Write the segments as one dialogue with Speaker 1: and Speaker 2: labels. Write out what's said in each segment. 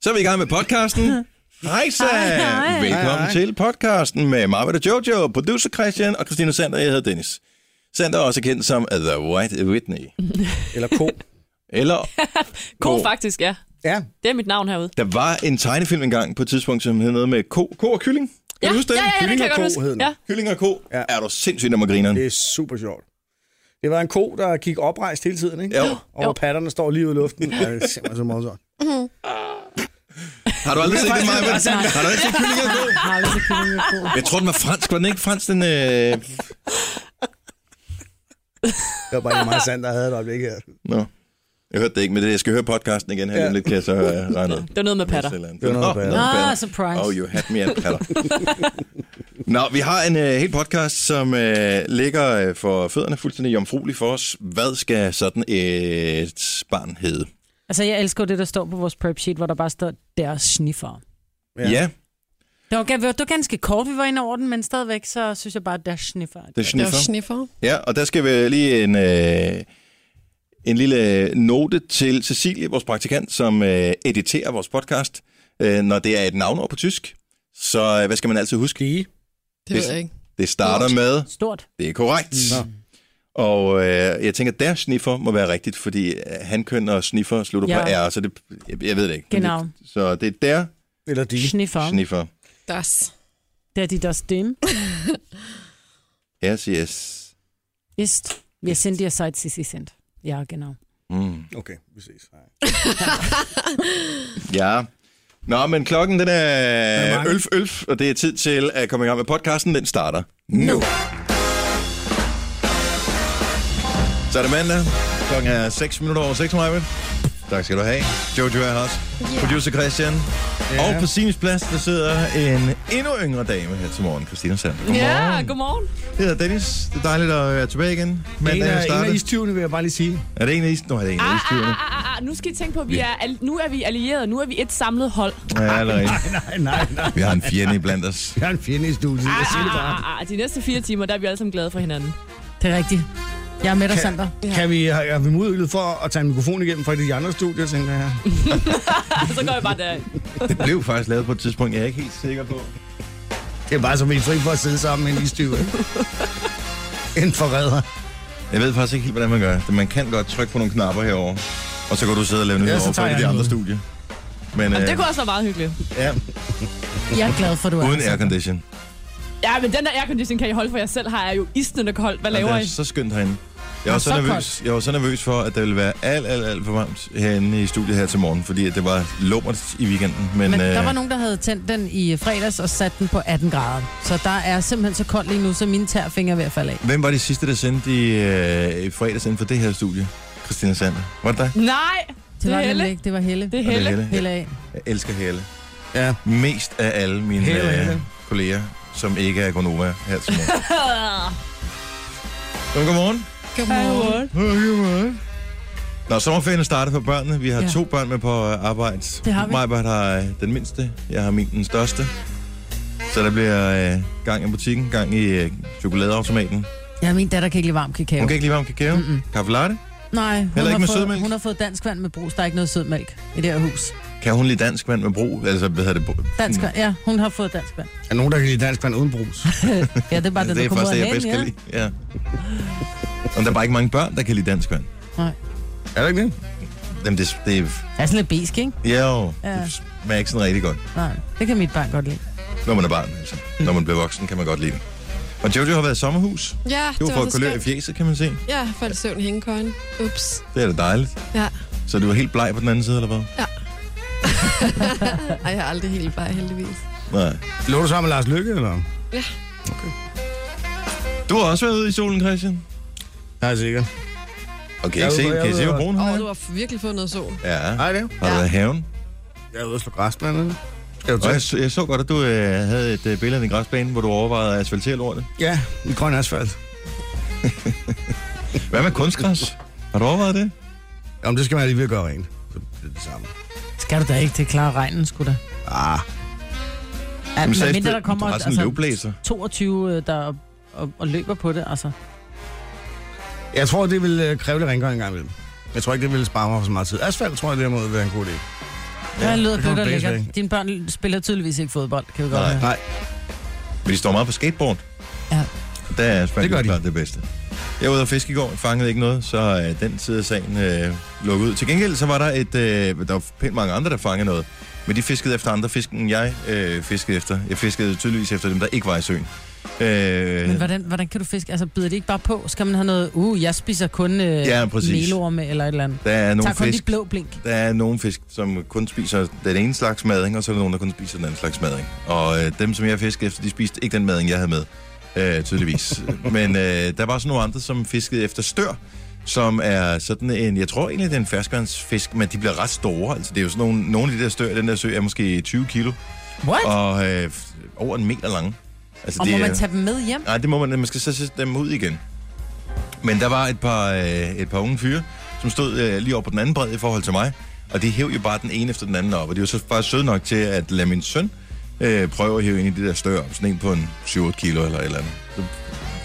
Speaker 1: Så er vi i gang med podcasten. Hejsa!
Speaker 2: Hej, hej.
Speaker 1: Velkommen
Speaker 3: Hej, hej.
Speaker 1: til podcasten med Marvind og Jojo, producer Christian og Christina Sander. Jeg hedder Dennis. Sander er også kendt som The White Whitney.
Speaker 3: Eller ko.
Speaker 1: Eller
Speaker 2: Ko
Speaker 1: Ko.
Speaker 2: faktisk, ja.
Speaker 3: ja.
Speaker 2: Det er mit navn herude.
Speaker 1: der var en tegnefilm engang på et tidspunkt, som hed noget med ko, ko og kylling. Kan
Speaker 2: ja,
Speaker 1: du huske den?
Speaker 2: Ja, ja, ja, det
Speaker 3: Kylling
Speaker 2: kan
Speaker 3: og
Speaker 2: jeg
Speaker 3: ko
Speaker 2: godt huske.
Speaker 3: hed den.
Speaker 2: Ja.
Speaker 1: Kylling og ko. Ja.
Speaker 3: Ja.
Speaker 1: Er du sindssygt, når man griner.
Speaker 3: Det er super sjovt. Det var en ko, der gik oprejst hele tiden, ikke?
Speaker 1: Jo.
Speaker 3: Og hvor patterne står lige ude i luften. Ja, det er simpelthen så meget sjovt.
Speaker 1: Har du aldrig set det, Maja? Har du aldrig set kylling og ko?
Speaker 4: Har aldrig set kylling og ko.
Speaker 1: Jeg tror, den var fransk. Var den ikke fransk, den... Øh...
Speaker 3: Det var bare lige meget sandt, der havde et øjeblik her.
Speaker 1: Nå. Jeg hørte det ikke, men det, jeg skal høre podcasten igen her. Ja.
Speaker 3: Ja.
Speaker 1: Lidt kan jeg så øh, regne ud.
Speaker 2: Det var noget med patter.
Speaker 1: Det
Speaker 3: var noget med patter.
Speaker 4: Ah, surprise.
Speaker 1: Oh, you had me at patter. Nå, vi har en øh, hel podcast, som øh, ligger øh, for fødderne fuldstændig jomfruelig for os. Hvad skal sådan et barn hedde?
Speaker 4: Altså, jeg elsker jo det, der står på vores prep sheet, hvor der bare står, deres sniffer.
Speaker 1: Ja, ja
Speaker 4: Det var, det var ganske kort, vi var inde over den, men stadigvæk, så synes jeg bare, der sniffer.
Speaker 1: det er
Speaker 5: Der er
Speaker 1: sniffer.
Speaker 5: sniffer.
Speaker 1: Ja, og der skal vi lige en, øh, en lille note til Cecilie, vores praktikant, som øh, editerer vores podcast. Øh, når det er et navnord på tysk, så øh, hvad skal man altid huske?
Speaker 3: Dige.
Speaker 5: Det ved jeg ikke.
Speaker 1: Det starter med,
Speaker 4: Stort.
Speaker 1: det er korrekt.
Speaker 3: Nå.
Speaker 1: Og øh, jeg tænker, der sniffer må være rigtigt, fordi øh, hankøn og sniffer slutter
Speaker 4: Ja.
Speaker 1: på R, så det, jeg, jeg ved det ikke. Men
Speaker 4: Genau.
Speaker 1: Det, så det er der
Speaker 3: Eller dige.
Speaker 4: Sniffer.
Speaker 1: sniffer.
Speaker 5: Das.
Speaker 4: Der die das dem
Speaker 1: Yes, yes.
Speaker 4: ist, wir sind ihr seit sie sie sind. Ja, genau.
Speaker 1: Mm.
Speaker 3: Okay, vi ses. Hej.
Speaker 1: Ja. Nå, men klokken den
Speaker 3: er
Speaker 1: er
Speaker 3: mange.
Speaker 1: ølf, ølf, og det er tid til at komme i gang med podcasten. Den starter nu. Så er det mandag. Klokken er 6 minutter over 6, Maja. Tak skal du have. Jojo er her også. Yeah. Producer Christian. Yeah. Og på Sines plads, der sidder en endnu yngre dame her til morgen, Christina Sand.
Speaker 2: Ja, godmorgen. Ah,
Speaker 1: Jeg hedder Dennis. Det er dejligt at være tilbage igen.
Speaker 3: En
Speaker 1: Mandag er
Speaker 3: af, en af
Speaker 1: startet.
Speaker 3: istyvene vil jeg bare lige sige.
Speaker 1: Er det en af is? Nå, er det en af
Speaker 2: Ah, ah,
Speaker 1: isdyrene.
Speaker 2: ah, ah, ah, nu skal I tænke på, at vi er, al- nu er vi allierede. Nu er vi et samlet hold.
Speaker 1: Ja, det er rigtigt.
Speaker 3: Nej, nej, nej, nej.
Speaker 1: Vi har en fjende blandt os.
Speaker 3: Jeg er en fjende i studiet.
Speaker 2: Ah,
Speaker 3: Jeg siger det
Speaker 2: ah,
Speaker 3: bare.
Speaker 2: ah, ah, de næste fire timer, der er vi alle sammen glade for hinanden.
Speaker 4: Det er rigtigt. Jeg er med dig, Sander.
Speaker 3: ah, Kan vi, har, har vi modølet for at tage en mikrofon igennem fra de andre studier, tænker jeg?
Speaker 2: Og Ah, så går jeg bare der.
Speaker 1: Det blev faktisk lavet på et tidspunkt, jeg er ikke helt sikker på.
Speaker 3: Det er bare som vi er fri for at sidde sammen med en istyve. en forræder.
Speaker 1: Jeg ved faktisk ikke helt, hvordan man gør. det. Man kan godt trykke på nogle knapper herovre, og så kan du sidde og lave nyheder
Speaker 3: så
Speaker 1: over for
Speaker 3: tager
Speaker 1: et af de
Speaker 3: jeg
Speaker 1: andre
Speaker 3: den.
Speaker 1: studier. Men øh,
Speaker 2: Det kunne også være meget hyggeligt.
Speaker 1: ja,
Speaker 4: Jeg er glad for, at du er
Speaker 1: uden
Speaker 4: altså- her, Sander.
Speaker 1: aircondition.
Speaker 2: Ja, men den der aircondition kan I holde for jer selv. Har jeg jo isnende koldt. Hvad
Speaker 1: Og
Speaker 2: laver
Speaker 1: det
Speaker 2: I?
Speaker 1: er så skønt herinde. Jeg var
Speaker 4: Og
Speaker 1: så,
Speaker 4: så
Speaker 1: nervøs,
Speaker 4: koldt.
Speaker 1: jeg var så nervøs for, at der ville være alt, alt, alt for varmt herinde i studiet her til morgen, fordi at det var lummert i weekenden. Men,
Speaker 4: Men
Speaker 1: øh,
Speaker 4: der var nogen, der havde tændt den i fredags og sat den på 18 grader. Så der er simpelthen så koldt lige nu, så mine tærfingre er ved at falde af.
Speaker 1: Hvem var de sidste, der sendte i, øh, i fredags inden for det her studie? Christina Sander. Var det dig?
Speaker 2: Nej,
Speaker 4: Det var
Speaker 2: Det er
Speaker 4: det
Speaker 2: Helle.
Speaker 4: ikke. Det var Helle.
Speaker 2: det er
Speaker 1: Og det er
Speaker 2: Helle.
Speaker 4: Helle af.
Speaker 1: Jeg elsker Helle.
Speaker 3: Ja.
Speaker 1: Mest af alle mine
Speaker 3: Helle,
Speaker 1: øh,
Speaker 3: Helle.
Speaker 1: kolleger, som ikke er Gonova her til morgen. Men godmorgen.
Speaker 5: Godmorgen.
Speaker 1: Nå, sommerferien er startet for børnene. Vi har ja.
Speaker 4: Ja.
Speaker 1: to børn med på øh, arbejde.
Speaker 4: Det har vi.
Speaker 1: Majbert har øh, den mindste, jeg har min den største. Så der bliver øh, gang i butikken, gang i øh, chokoladeautomaten.
Speaker 4: Ja, min datter kan ikke lide varm kakao.
Speaker 1: Hun kan ikke lide varm kakao. Mm-mm. Kaffe latte.
Speaker 4: Nej, hun,
Speaker 1: ikke
Speaker 4: har
Speaker 1: med
Speaker 4: fået,
Speaker 1: sødmælk?
Speaker 4: hun har fået dansk vand med brus. Der er ikke noget sødmælk i det her hus.
Speaker 1: Kan hun lide dansk vand med brug? Altså, hvad hedder det? Brug?
Speaker 4: Dansk vand, ja, hun har fået dansk vand.
Speaker 3: Er nogen, der kan lide dansk vand uden brus?
Speaker 4: Ja, det er bare
Speaker 1: Altså,
Speaker 4: den,
Speaker 1: det
Speaker 4: der
Speaker 1: er
Speaker 4: kommer ud
Speaker 1: faktisk det,
Speaker 4: af
Speaker 1: jeg bedst
Speaker 4: hagen,
Speaker 1: kan lide. Ja. Og der er bare ikke mange børn, der kan lide dansk vand.
Speaker 4: ja. Nej.
Speaker 3: Er det ikke det?
Speaker 1: Jamen, det, det er...
Speaker 4: Jeg er sådan lidt besk, ikke?
Speaker 1: Ja, jo.
Speaker 4: Ja.
Speaker 1: Det smager ikke sådan rigtig godt.
Speaker 4: Nej, det kan mit barn godt lide.
Speaker 1: Når man er barn, altså. Når man bliver voksen, kan man godt lide det. Og Jojo har været i sommerhus.
Speaker 5: Ja, det
Speaker 1: Du
Speaker 5: var
Speaker 1: har fået
Speaker 5: så
Speaker 1: kolør i
Speaker 5: skønt.
Speaker 1: fjeset, kan man se.
Speaker 5: Ja, jeg faldt i søvn i hængekøjen. Ups.
Speaker 1: Det er da dejligt.
Speaker 5: Ja.
Speaker 1: Så du var helt bleg på den anden side, eller hvad?
Speaker 5: Ej, jeg er aldrig helt bare heldigvis.
Speaker 1: Nej.
Speaker 3: Lå du sammen med Lars Lykke, eller?
Speaker 1: Du har også været ude i solen, Christian.
Speaker 3: Nej, sikkert.
Speaker 1: Og kan I
Speaker 3: Jeg
Speaker 1: ikke se,
Speaker 3: er ude-
Speaker 1: kan I
Speaker 3: jeg
Speaker 1: se
Speaker 3: er
Speaker 1: hvor
Speaker 3: ude-
Speaker 1: brun
Speaker 5: Åh,
Speaker 1: hun
Speaker 5: oh, du
Speaker 1: er?
Speaker 5: har virkelig fået noget sol.
Speaker 1: Ja.
Speaker 3: Nej, det er jo.
Speaker 1: Har du
Speaker 5: Ja.
Speaker 1: været i haven?
Speaker 3: Jeg er ude og slå græs, blandt andet. Skal du
Speaker 1: Og
Speaker 3: til?
Speaker 1: jeg, så- jeg så godt, at du øh, havde et øh, billede af en græsbane, hvor du overvejede at asfaltere lortet.
Speaker 3: Ja, en grøn asfalt.
Speaker 1: Hvad med kunstgræs? Har du overvejet det?
Speaker 3: Jamen, det skal man alligevel gøre rent. Så det er det samme.
Speaker 4: Skal du da ikke til klare regnen, skulle da?
Speaker 3: Ah,
Speaker 4: Ja,
Speaker 1: Jamen, så
Speaker 4: men
Speaker 1: efter-
Speaker 4: mindre der kommer
Speaker 1: du har sådan en løvblæser.
Speaker 4: 22, øh, der og, og, og, løber på det, altså.
Speaker 3: jeg tror, det vil øh, kræve lidt rengøring en gang imellem. Jeg tror ikke, det ville spare mig for så meget tid. Asfalt tror jeg derimod vil være en god idé.
Speaker 4: Ja, det lyder
Speaker 3: det kommer
Speaker 4: blødt og
Speaker 3: blæse
Speaker 4: lækkert. Dine børn spiller tydeligvis ikke fodbold, kan vi godt
Speaker 1: Nej.
Speaker 4: høre.
Speaker 3: Nej,
Speaker 1: Men de står meget på skateboard.
Speaker 4: Ja.
Speaker 1: Og Der er
Speaker 3: Det gør
Speaker 1: Spanien
Speaker 3: de.
Speaker 1: klart det bedste. Jeg var ude at fiske i går, fangede ikke noget, så øh, den side af sagen øh, lukkede ud. Til gengæld så var der et, øh, der var pænt mange andre, der fangede noget. Men de fiskede efter andre fisk, end jeg øh, fiskede efter. Jeg fiskede tydeligvis efter dem, der ikke var i søen. Øh,
Speaker 4: Men hvordan, hvordan kan du fiske? Altså, bider det ikke bare på? Skal man have noget, uh, jeg spiser kun øh,
Speaker 1: Ja, præcis.
Speaker 4: melorme eller et eller andet?
Speaker 1: der er nogle
Speaker 4: Tag kun
Speaker 1: fisk,
Speaker 4: de blå blink.
Speaker 1: der er nogle fisk, som kun spiser den ene slags mading, og så er der nogen, der kun spiser den anden slags mading. Og øh, dem, som jeg fiskede efter, de spiste ikke den mading, jeg havde med, øh, tydeligvis. Men øh, der var så nogle andre, som fiskede efter stør, som er sådan en, jeg tror egentlig, det er en ferskvandsfisk, men de bliver ret store. Altså, det er jo sådan nogle, nogle af de der stør, i den der sø er måske 20 kilo,
Speaker 4: What? Og,
Speaker 1: og øh, f- over en meter lange. Altså,
Speaker 4: og må
Speaker 1: det er-
Speaker 4: man tage dem med hjem?
Speaker 1: Nej, det må man, man skal så sætte dem ud igen. Men der var et par, øh, et par unge fyre, som stod øh, lige oppe på den anden bred i forhold til mig, og de hæv jo bare den ene efter den anden op, og de var så bare søde nok til at lade min søn øh, prøve at hæve en i det der større op, sådan en på en 7-8 kilo eller et eller andet. Så,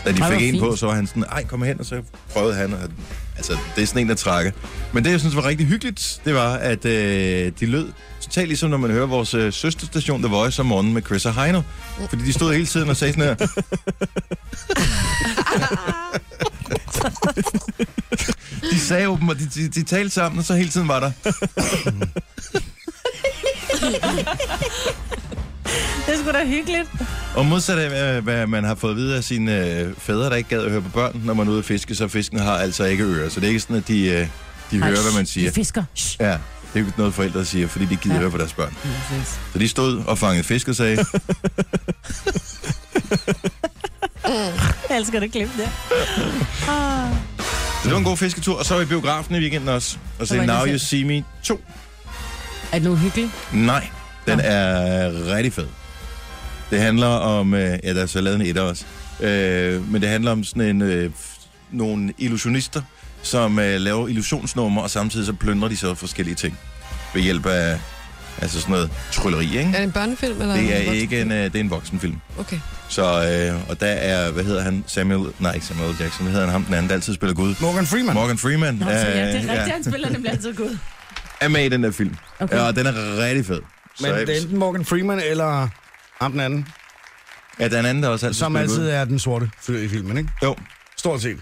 Speaker 1: da de
Speaker 4: Ej, hvor
Speaker 1: fik en
Speaker 4: fint.
Speaker 1: på, så var han sådan, ej, kom hen, og så prøvede han, og, altså, det er sådan en, der trækker. Men det, jeg synes var rigtig hyggeligt, det var, at øh, de lød totalt ligesom, når man hører vores øh, søsterstation The Voice om morgenen med Chris og Heino, fordi de stod hele tiden og sagde sådan her, De sagde jo dem, og de, de, de talte sammen, og så hele tiden var der.
Speaker 4: Det er sgu da hyggeligt.
Speaker 1: Og modsat af, hvad- hvad man har fået at vide af sine øh, fædre, der ikke gad at høre på børn, når man er ude at fiske, så fisken har altså ikke ører. Så det er ikke sådan, at de, øh, de hører, hvad man siger.
Speaker 4: De fisker. Shh.
Speaker 1: Ja, det er jo ikke noget, forældre siger, fordi de gider ja.
Speaker 4: Ja.
Speaker 1: høre på deres børn.
Speaker 4: Ja, præcis.
Speaker 1: Så de stod og fangede fisk og sagde,
Speaker 4: Jeg elsker det klip der. Ah.
Speaker 1: så det var en god fisketur, og så var i biografen i weekenden også, og
Speaker 4: var
Speaker 1: se
Speaker 4: det
Speaker 1: Now You
Speaker 4: fedt.
Speaker 1: See Me 2.
Speaker 4: Er det nu hyggeligt?
Speaker 1: Nej, den
Speaker 4: Nå.
Speaker 1: er rigtig fed. Det handler om, øh, ja, der er så lavet en etter også, øh, men det handler om sådan en, øh, f- nogle illusionister, som øh, laver illusionsnumre, og samtidig så plyndrer de så forskellige ting ved hjælp af altså sådan noget trylleri, ikke?
Speaker 5: Er det en børnefilm? Eller
Speaker 1: Det er
Speaker 5: voksen-
Speaker 1: ikke en, øh, det er en voksenfilm.
Speaker 5: Okay.
Speaker 1: Så, øh, og der er, hvad hedder han, Samuel, nej ikke Samuel L. Jackson, hvad hedder han, ham den anden, der altid spiller Gud.
Speaker 3: Morgan Freeman.
Speaker 1: Morgan Freeman.
Speaker 4: Nå, så
Speaker 1: øh,
Speaker 4: ja, det er rigtigt, han spiller nemlig altid god.
Speaker 1: er med i den der film.
Speaker 4: Okay.
Speaker 1: Ja, og den er rigtig fed.
Speaker 3: Men
Speaker 1: så,
Speaker 3: det er enten Morgan Freeman eller ham den anden,
Speaker 1: ja, den anden, der også altid
Speaker 3: som
Speaker 1: spiller
Speaker 3: altid
Speaker 1: Gud.
Speaker 3: er den sorte fyr i filmen, ikke?
Speaker 1: Jo,
Speaker 3: Stort set.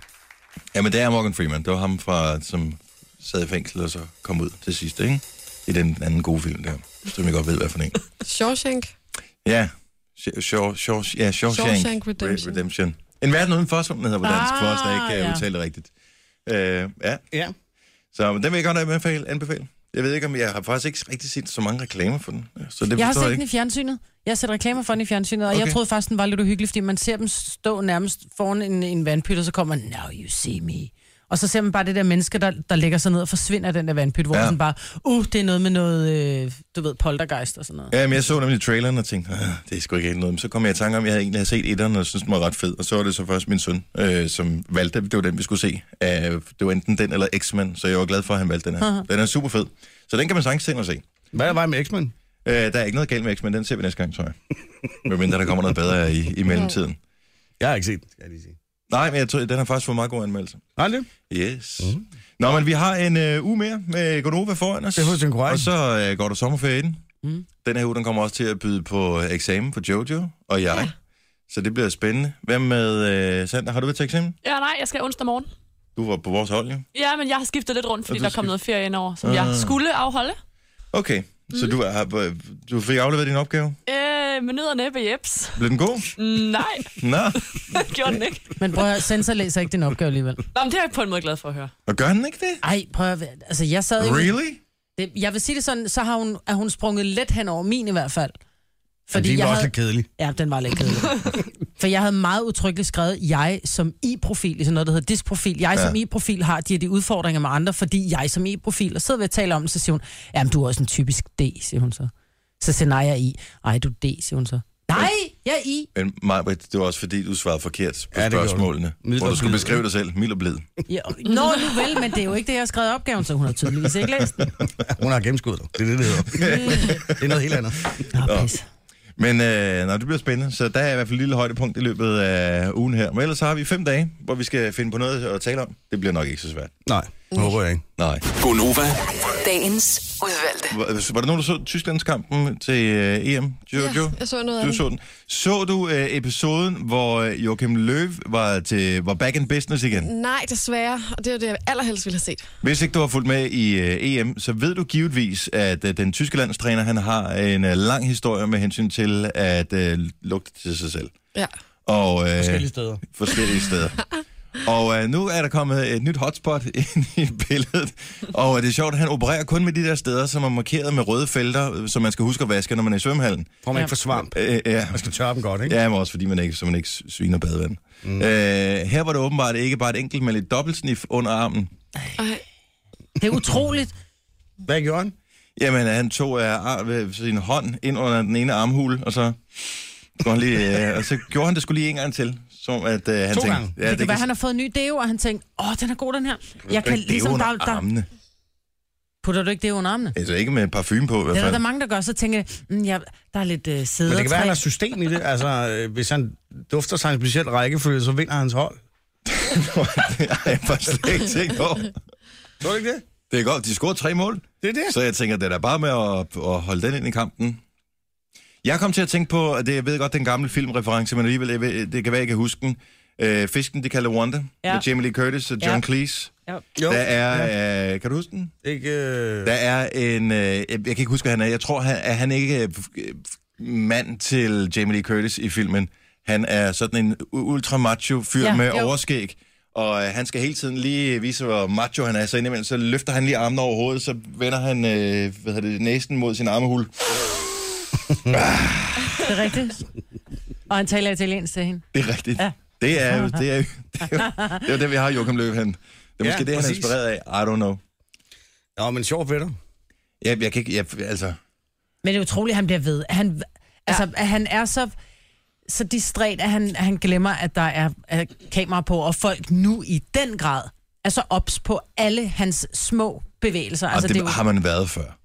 Speaker 1: Jamen, det er Morgan Freeman. Det var ham, fra, som sad i fængsel og så kom ud til sidst, ikke? I den anden gode film der, som jeg godt ved, hvad for en.
Speaker 5: Shawshank.
Speaker 1: Ja, Sh- Shaw, Shaw, ja Shawshank,
Speaker 5: Shawshank Redemption.
Speaker 1: Re- Redemption. En verden uden for, som den hedder på dansk, ah, for os, der ikke kan
Speaker 4: Ah,
Speaker 1: ja.
Speaker 4: ja.
Speaker 1: udtale det rigtigt. Øh, ja,
Speaker 3: Ja.
Speaker 1: så men den vil jeg godt anbefale. anbefale. Jeg ved ikke, om jeg har faktisk ikke rigtig set så mange reklamer for den. Så det
Speaker 4: Jeg har
Speaker 1: forstår
Speaker 4: set
Speaker 1: jeg
Speaker 4: den
Speaker 1: ikke.
Speaker 4: i fjernsynet. Jeg har set reklamer for den i fjernsynet, og
Speaker 1: Okay.
Speaker 4: jeg troede faktisk, den var lidt uhyggelig, fordi man ser dem stå nærmest foran en, en vandpyt, og så kommer now you see me. Og så ser man bare det der menneske, der, der lægger sig ned og forsvinder af den der vandpyt, hvor
Speaker 1: Ja.
Speaker 4: ja. sådan bare, uh, det er noget med noget, øh, du ved, poltergeist og sådan noget.
Speaker 1: Ja, men jeg så nemlig traileren og tænkte, "Ah, det er sgu ikke helt noget. Men så kom jeg i tanke om, at jeg havde egentlig havde set etteren, og synes den var ret fed. Og så var det så først min søn, øh, som valgte, det var den, vi skulle se. Øh, det var enten den eller X-Men, så jeg var glad for, at han valgte den her. Den er super fed. Så den kan man sagtens tænke at se.
Speaker 3: Hvad er vejen med X-Men?
Speaker 1: Øh, der er ikke noget galt med X-Men, den ser vi næste gang, tror jeg. Medmindre der kommer noget bedre i, i mellemtiden.
Speaker 3: Jeg har ikke set den, skal jeg lige sige.
Speaker 1: Nej, men jeg tror, den har faktisk fået meget god anmeldelse.
Speaker 3: Har det?
Speaker 1: Yes. Mm. Nå, men vi har en øh, uge mere med Gonova foran os.
Speaker 3: Det er fuldstændig korrekt.
Speaker 1: Og så øh, går der sommerferie ind. Mm. Den her uge, den kommer også til at byde på øh, eksamen for Jojo og jeg. Ja. Så det bliver spændende. Hvad med øh, Sander? Har du været til eksamen?
Speaker 2: Ja, nej, jeg skal onsdag morgen.
Speaker 1: Du var på vores hold, jo.
Speaker 2: Ja, men jeg har skiftet lidt rundt, fordi
Speaker 1: Og du
Speaker 2: der kom
Speaker 1: skift-
Speaker 2: noget ferie ind over, som jeg skulle afholde.
Speaker 1: Okay, mm. så du, har, øh, du fik afleveret din opgave.
Speaker 2: Øh, med nød og næppe, jeps.
Speaker 1: Blev den god?
Speaker 2: Nej,
Speaker 1: Nå,
Speaker 2: det gjorde den ikke.
Speaker 4: Men prøv at høre, sensor læser ikke din opgave alligevel.
Speaker 2: Nå, men det er jeg på en måde glad for at høre.
Speaker 1: og gør den ikke det?
Speaker 4: Ej, prøv at høre, altså jeg sad jo...
Speaker 1: Really?
Speaker 4: Det, jeg vil sige det sådan, så har hun, er hun sprunget let hen over min i hvert fald.
Speaker 3: Fordi de
Speaker 4: jeg
Speaker 3: var også
Speaker 4: havde-
Speaker 3: lidt kedelige.
Speaker 4: Ja, den var lidt kedelig. For jeg havde meget udtrykkeligt skrevet, jeg som i-profil, i sådan noget, der hedder disprofil, jeg
Speaker 1: Ja.
Speaker 4: som i-profil har de, og de udfordringer med andre, fordi jeg som i-profil, og sidder vi og taler om, det, så siger hun, jamen du er også en typisk D, siger hun så. Så siger nej, jeg er i. Ej, du er D, siger hun så. Nej, jeg er i.
Speaker 1: Men Majbrit, det var også fordi, du svarede forkert på
Speaker 3: Ja,
Speaker 1: ja,
Speaker 3: det gjorde du.
Speaker 1: spørgsmålene.
Speaker 3: Mild
Speaker 1: Hvor
Speaker 3: og
Speaker 1: du skulle
Speaker 3: blid.
Speaker 1: beskrive dig selv. Mild og blid.
Speaker 4: Ja, nå, nu vel, men det er jo ikke det, jeg har skrevet i opgaven, så hun har tydeligvis ikke læst den.
Speaker 3: Hun har gennemskuddet dig. Det er det, det hedder. det er noget helt andet.
Speaker 4: Nå, pis.
Speaker 1: Men øh, nej, det bliver spændende, så der er i hvert fald et lille højdepunkt i løbet af ugen her. Men ellers har vi fem dage, hvor vi skal finde på noget at tale om. Det bliver nok ikke så svært.
Speaker 3: Nej, det håber jeg ikke.
Speaker 1: Nej.
Speaker 6: Gonova, Dagens udvalgte.
Speaker 1: Var, var der nogen, der så Tysklandskampen til øh, EM, Jojo?
Speaker 5: Ja, jeg så noget af
Speaker 1: Du
Speaker 5: det.
Speaker 1: så den. Så du øh, episoden, hvor øh, Joachim Løv var, til, var back in business igen?
Speaker 5: Nej, desværre. Og det er det, jeg allerhelst ville have set.
Speaker 1: Hvis ikke du har fulgt med i øh, EM, så ved du givetvis, at øh, den tyske landstræner han har en øh, lang historie med hensyn til at øh, lugte til sig selv.
Speaker 5: Ja.
Speaker 1: Og, øh,
Speaker 7: Forskellige steder.
Speaker 1: forskellige steder. Og øh, nu er der kommet et nyt hotspot ind i billedet. Og øh, det er sjovt, at han opererer kun med de der steder, som er markeret med røde felter, øh, som man skal huske at vaske, når man er i svømmehallen.
Speaker 3: Prøv man ikke for svamp.
Speaker 1: Øh, ja.
Speaker 3: Man skal tørre dem godt, ikke?
Speaker 1: ja, men også fordi man ikke, så man ikke sviner badevand. Mm. Øh, her var det åbenbart ikke bare et enkelt, men et dobbeltsnif under armen.
Speaker 5: Ej.
Speaker 4: Det er utroligt.
Speaker 3: Hvad gjorde han?
Speaker 1: Jamen, han tog øh, ar- øh, sin hånd ind under den ene armhul, og så, går han lige, øh, og så gjorde han det skulle lige en gang til. Som at, øh, han
Speaker 3: To
Speaker 1: tænkte,
Speaker 3: gange.
Speaker 1: Ja,
Speaker 4: Ja, det, kan være,
Speaker 1: kan-
Speaker 4: han har fået en ny deo, og han tænkte, åh, den er god, den her. Jeg kan
Speaker 1: Det er
Speaker 4: ligesom,
Speaker 1: under
Speaker 4: der, der
Speaker 1: armene.
Speaker 4: putter du ikke deo under armene?
Speaker 1: Altså ikke med parfume på, i hvert
Speaker 4: Det er der,
Speaker 1: fald.
Speaker 4: der er mange, der gør, så tænker jeg, mm, ja, der er lidt øh, sæder.
Speaker 3: Men det kan være, han har system i det. Altså, øh, hvis han dufter sig en speciel rækkefølge, så vinder hans hold.
Speaker 1: det har jeg bare slet ikke tænkt over.
Speaker 3: Tror du ikke det?
Speaker 1: Det er godt, de scorede tre mål.
Speaker 3: Det er det.
Speaker 1: Så jeg tænker, det er da bare med at, at holde den ind i kampen. Jeg kom til at tænke på, at det, jeg ved godt, det er en gammel filmreference, men alligevel, jeg ved, det kan være, jeg kan huske den. Øh, Fisken, det kalder Wanda, ja.
Speaker 4: Ja.
Speaker 1: med Jamie Lee Curtis og John ja.
Speaker 4: Ja.
Speaker 1: Cleese. Der
Speaker 3: Jo.
Speaker 1: er, øh, kan du huske den?
Speaker 3: Ikke, øh...
Speaker 1: Der er en, øh, jeg jeg kan ikke huske, hvad han er. Jeg tror, han, er han ikke øh, øh, mand til Jamie Lee Curtis i filmen. Han er sådan en u- ultra macho fyr ja,
Speaker 4: Ja,
Speaker 1: med
Speaker 4: jo.
Speaker 1: jo. overskæg. Og øh, han skal hele tiden lige vise, hvor macho han er. Så indimellem, så løfter han lige armen over hovedet, så vender han øh, hvad hedder det, næsen mod sin armehul.
Speaker 4: Det er rigtigt. Og han taler italiensk til hende.
Speaker 1: Det er rigtigt. Ja.
Speaker 4: Ja.
Speaker 1: Det er jo det, er, jo- det, er, jo- det, er, jo det vi har Joachim Løv han. Det er
Speaker 3: Ja,
Speaker 1: måske ja, det, han er
Speaker 3: præcis.
Speaker 1: inspireret af. I don't know.
Speaker 3: Nå, men sjov fætter.
Speaker 1: Jeg, jeg kan ikke, jeg, altså...
Speaker 4: Men det er utroligt, at han bliver ved. At Han, altså, at han er så, så distræt, at han, at han glemmer, at der er, er kamera på, og folk nu i den grad er så ops på alle hans små bevægelser.
Speaker 1: Altså, det,
Speaker 4: er
Speaker 1: det har man været før.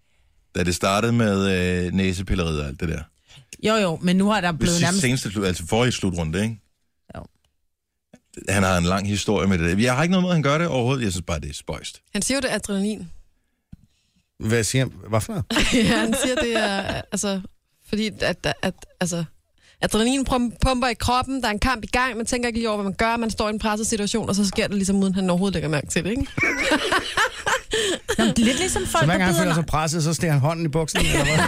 Speaker 1: Da det startede med øh, næsepilleriet og alt det der.
Speaker 4: jo, jo, men nu har der
Speaker 1: Ved
Speaker 4: blevet
Speaker 1: sidste
Speaker 4: nærmest...
Speaker 1: seneste, slu- altså forrige slutrunde, ikke?
Speaker 4: Jo.
Speaker 1: Han har en lang historie med det. Jeg har ikke noget med, at han gør det overhovedet. Jeg synes bare, det er spøjst.
Speaker 5: Han siger jo, det er adrenalin.
Speaker 3: Hvad siger han? Hvad for noget?
Speaker 5: ja, han siger, det er... Altså, fordi at, at, at altså, adrenalin prom- pumper i kroppen, der er en kamp i gang, man tænker ikke lige over, hvad man gør, man står i en presset situation, og så sker det ligesom, uden han overhovedet lægger mærke til det, ikke?
Speaker 4: Nå, men det er lidt ligesom folk,
Speaker 3: Så
Speaker 4: der
Speaker 3: hver gang han føler
Speaker 4: bider
Speaker 3: sig presset, så stiger han hånden i buksen. Eller hvad?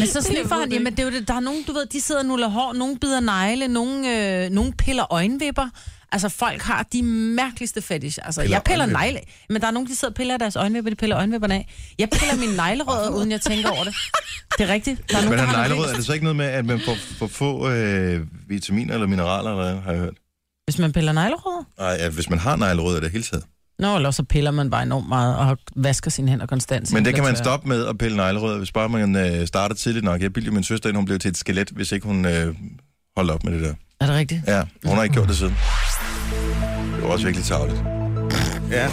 Speaker 4: Men så
Speaker 5: Jeg
Speaker 4: sniffer
Speaker 5: ved
Speaker 4: han,
Speaker 5: det
Speaker 4: jamen det er jo det, der er nogen, du ved, de sidder og nuller hår, nogen bider negle, nogen, øh, nogen piller øjenvipper. Altså folk har de mærkeligste fetish. Altså
Speaker 3: Piller
Speaker 4: piller jeg piller
Speaker 3: øjenvipper?
Speaker 4: negle, men der er nogen, der sidder og piller deres øjenvipper, de piller øjenvipperne af. Jeg piller mine neglerødder, uden jeg tænker over det. Det er rigtigt. Der er
Speaker 1: Men
Speaker 4: nogen, der
Speaker 1: han
Speaker 4: har
Speaker 1: neglerød,
Speaker 4: neglerødder.
Speaker 1: er det så ikke noget med, at man får for få øh, vitaminer eller mineraler, eller hvad, har jeg hørt?
Speaker 4: Hvis man piller neglerødder?
Speaker 1: Nej, ja, hvis man har neglerød, er det hele taget.
Speaker 4: Nå, eller så piller man bare enormt meget og vasker sine hænder konstant. så
Speaker 1: Men
Speaker 4: de
Speaker 1: det kan
Speaker 4: bliver
Speaker 1: man
Speaker 4: tørre.
Speaker 1: stoppe med at pille neglerød, hvis bare man øh, starter tidligt nok. Jeg bildte min søster, ind, hun blev til et skelet, hvis ikke hun øh, holdt op med det der.
Speaker 4: Er det rigtigt?
Speaker 1: Ja, hun har ikke gjort det siden. Det var også virkelig tarveligt.
Speaker 3: ja.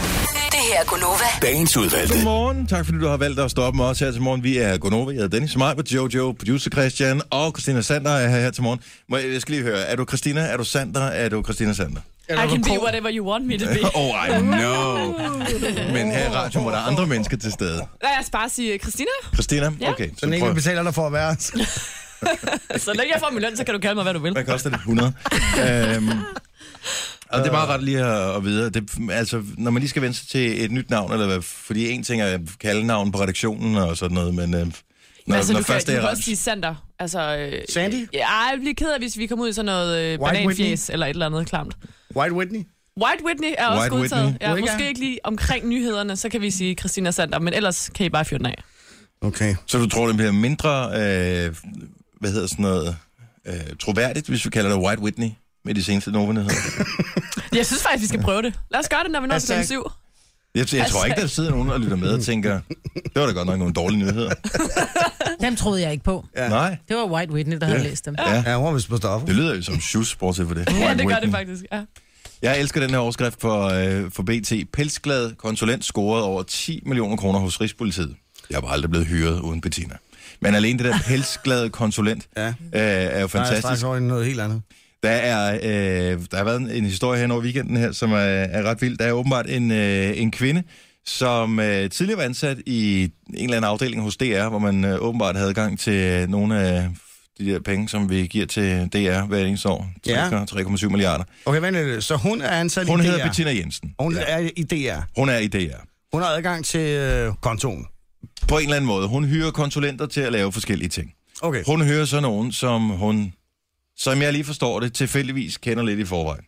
Speaker 6: Det her er Gunova.
Speaker 8: Dagens udvalgte.
Speaker 1: Godmorgen. Tak fordi du har valgt at stoppe med os her til morgen. Vi er Gonova, jeg hedder Dennis Meiber, Jojo, producer Christian og Christina Sander er her, her til morgen. Må jeg, jeg skal lige høre, er du Christina, er du Sander, er du Christina Sander?
Speaker 2: I can be whatever you want me to be.
Speaker 1: Oh, I know. Men her i radioen, hvor der er andre mennesker til stede.
Speaker 2: Lad os bare sige, Christina,
Speaker 1: Christina?
Speaker 2: Ja.
Speaker 1: Okay,
Speaker 3: Så den
Speaker 1: så
Speaker 3: ikke
Speaker 1: prøv.
Speaker 3: betaler dig for at være.
Speaker 2: så længe Altså, jeg får min løn, så kan du kalde mig, hvad du vil.
Speaker 1: Hvad koster det? 100. øhm, og det er
Speaker 2: Øh.
Speaker 1: meget rart lige at, at vide. Det, altså, når man lige skal vende sig til et nyt navn, eller hvad, fordi en ting er kaldenavn på redaktionen og sådan noget, men... Øh, når,
Speaker 2: altså,
Speaker 1: når
Speaker 2: du
Speaker 1: først
Speaker 2: kan,
Speaker 1: det er
Speaker 2: du kan
Speaker 1: ret,
Speaker 2: også sige Sander. Altså, øh,
Speaker 3: Sandy?
Speaker 2: Ja, jeg bliver ked af, hvis vi kommer ud i sådan noget øh, bananfjes eller et eller andet klamt.
Speaker 3: White Whitney?
Speaker 2: White Whitney er også
Speaker 1: White
Speaker 2: godtaget.
Speaker 1: Whitney.
Speaker 2: Ja,
Speaker 3: Wicca.
Speaker 2: måske ikke lige omkring nyhederne, så kan vi sige Christina Sander, men ellers kan I bare fyre den af.
Speaker 3: Okay.
Speaker 1: Så du tror, det bliver mindre, øh, hvad hedder sådan noget, øh, troværdigt, hvis vi kalder det White Whitney, med de seneste novenheder?
Speaker 2: Jeg synes faktisk, vi skal prøve det. Lad os gøre det, når vi når til
Speaker 3: Hashtag.
Speaker 2: den syv.
Speaker 1: Jeg, jeg tror
Speaker 2: Altså-
Speaker 1: ikke, der sidder nogen og lytter med og tænker, det var da godt nok nogle dårlige nyheder.
Speaker 4: Dem troede jeg ikke på.
Speaker 1: Ja. Nej,
Speaker 4: Det var White Whitney, der havde læst dem.
Speaker 1: ja.
Speaker 3: Ja, hun var vist på stoffer.
Speaker 1: Det lyder jo som shoes, bortset for det.
Speaker 2: Ja,
Speaker 1: White
Speaker 2: det gør
Speaker 1: Whitney.
Speaker 2: det faktisk. Ja.
Speaker 1: Jeg elsker den her overskrift for, øh, for BT. Pelsglad konsulent scorede over 10 millioner kroner hos Rigspolitiet. Jeg var aldrig blevet hyret uden Bettina. Men alene det der pelsglade konsulent
Speaker 3: Ja.
Speaker 1: øh, er jo
Speaker 3: Nej, jeg er
Speaker 1: fantastisk.
Speaker 3: straks over i noget helt andet.
Speaker 1: Der er øh, der har været en, en historie her over weekenden her, som er, er ret vild. Der er åbenbart en, øh, en kvinde, som øh, tidligere var ansat i en eller anden afdeling hos DR, hvor man øh, åbenbart havde adgang til nogle af de der penge, som vi giver til DR hvert eneste år.
Speaker 3: Ja.
Speaker 1: 3,7 milliarder.
Speaker 3: Okay, vent lidt. Så hun er ansat
Speaker 1: Hun
Speaker 3: i
Speaker 1: hedder
Speaker 3: DR.
Speaker 1: Bettina Jensen.
Speaker 3: Hun er i DR.
Speaker 1: Hun er i DR.
Speaker 3: Hun har adgang til øh, kontoen.
Speaker 1: På en eller anden måde. Hun hyrer konsulenter til at lave forskellige ting.
Speaker 3: Okay.
Speaker 1: Hun hører så nogen, som hun, som jeg lige forstår det, tilfældigvis kender lidt i forvejen.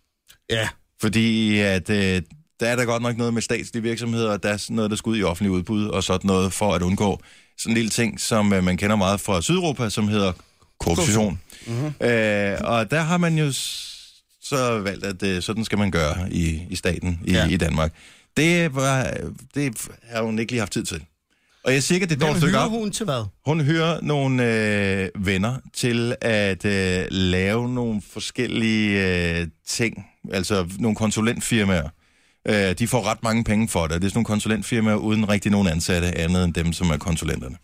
Speaker 3: Ja.
Speaker 1: Fordi at, øh, der er der godt nok noget med statslige virksomheder, og der er sådan noget, der skal ud i offentlig udbud og sådan noget, for at undgå sådan en lille ting, som øh, man kender meget fra Sydeuropa, som hedder korruption. Mm-hmm. Øh, og der har man jo s- så valgt, at øh, sådan skal man gøre i, i staten i,
Speaker 3: Ja.
Speaker 1: ja. i Danmark. Det, var, det har hun ikke lige haft tid til. Og jeg siger ikke, at det er et
Speaker 3: Hvem
Speaker 1: dårligt stykke
Speaker 3: hyrer
Speaker 1: op.
Speaker 3: hun til hvad?
Speaker 1: Hun hører nogle øh, venner til at øh, lave nogle forskellige øh, ting, altså nogle konsulentfirmaer. Øh, de får ret mange penge for det. Det er sådan nogle konsulentfirmaer uden rigtig nogen ansatte, andet end dem, som er konsulenterne.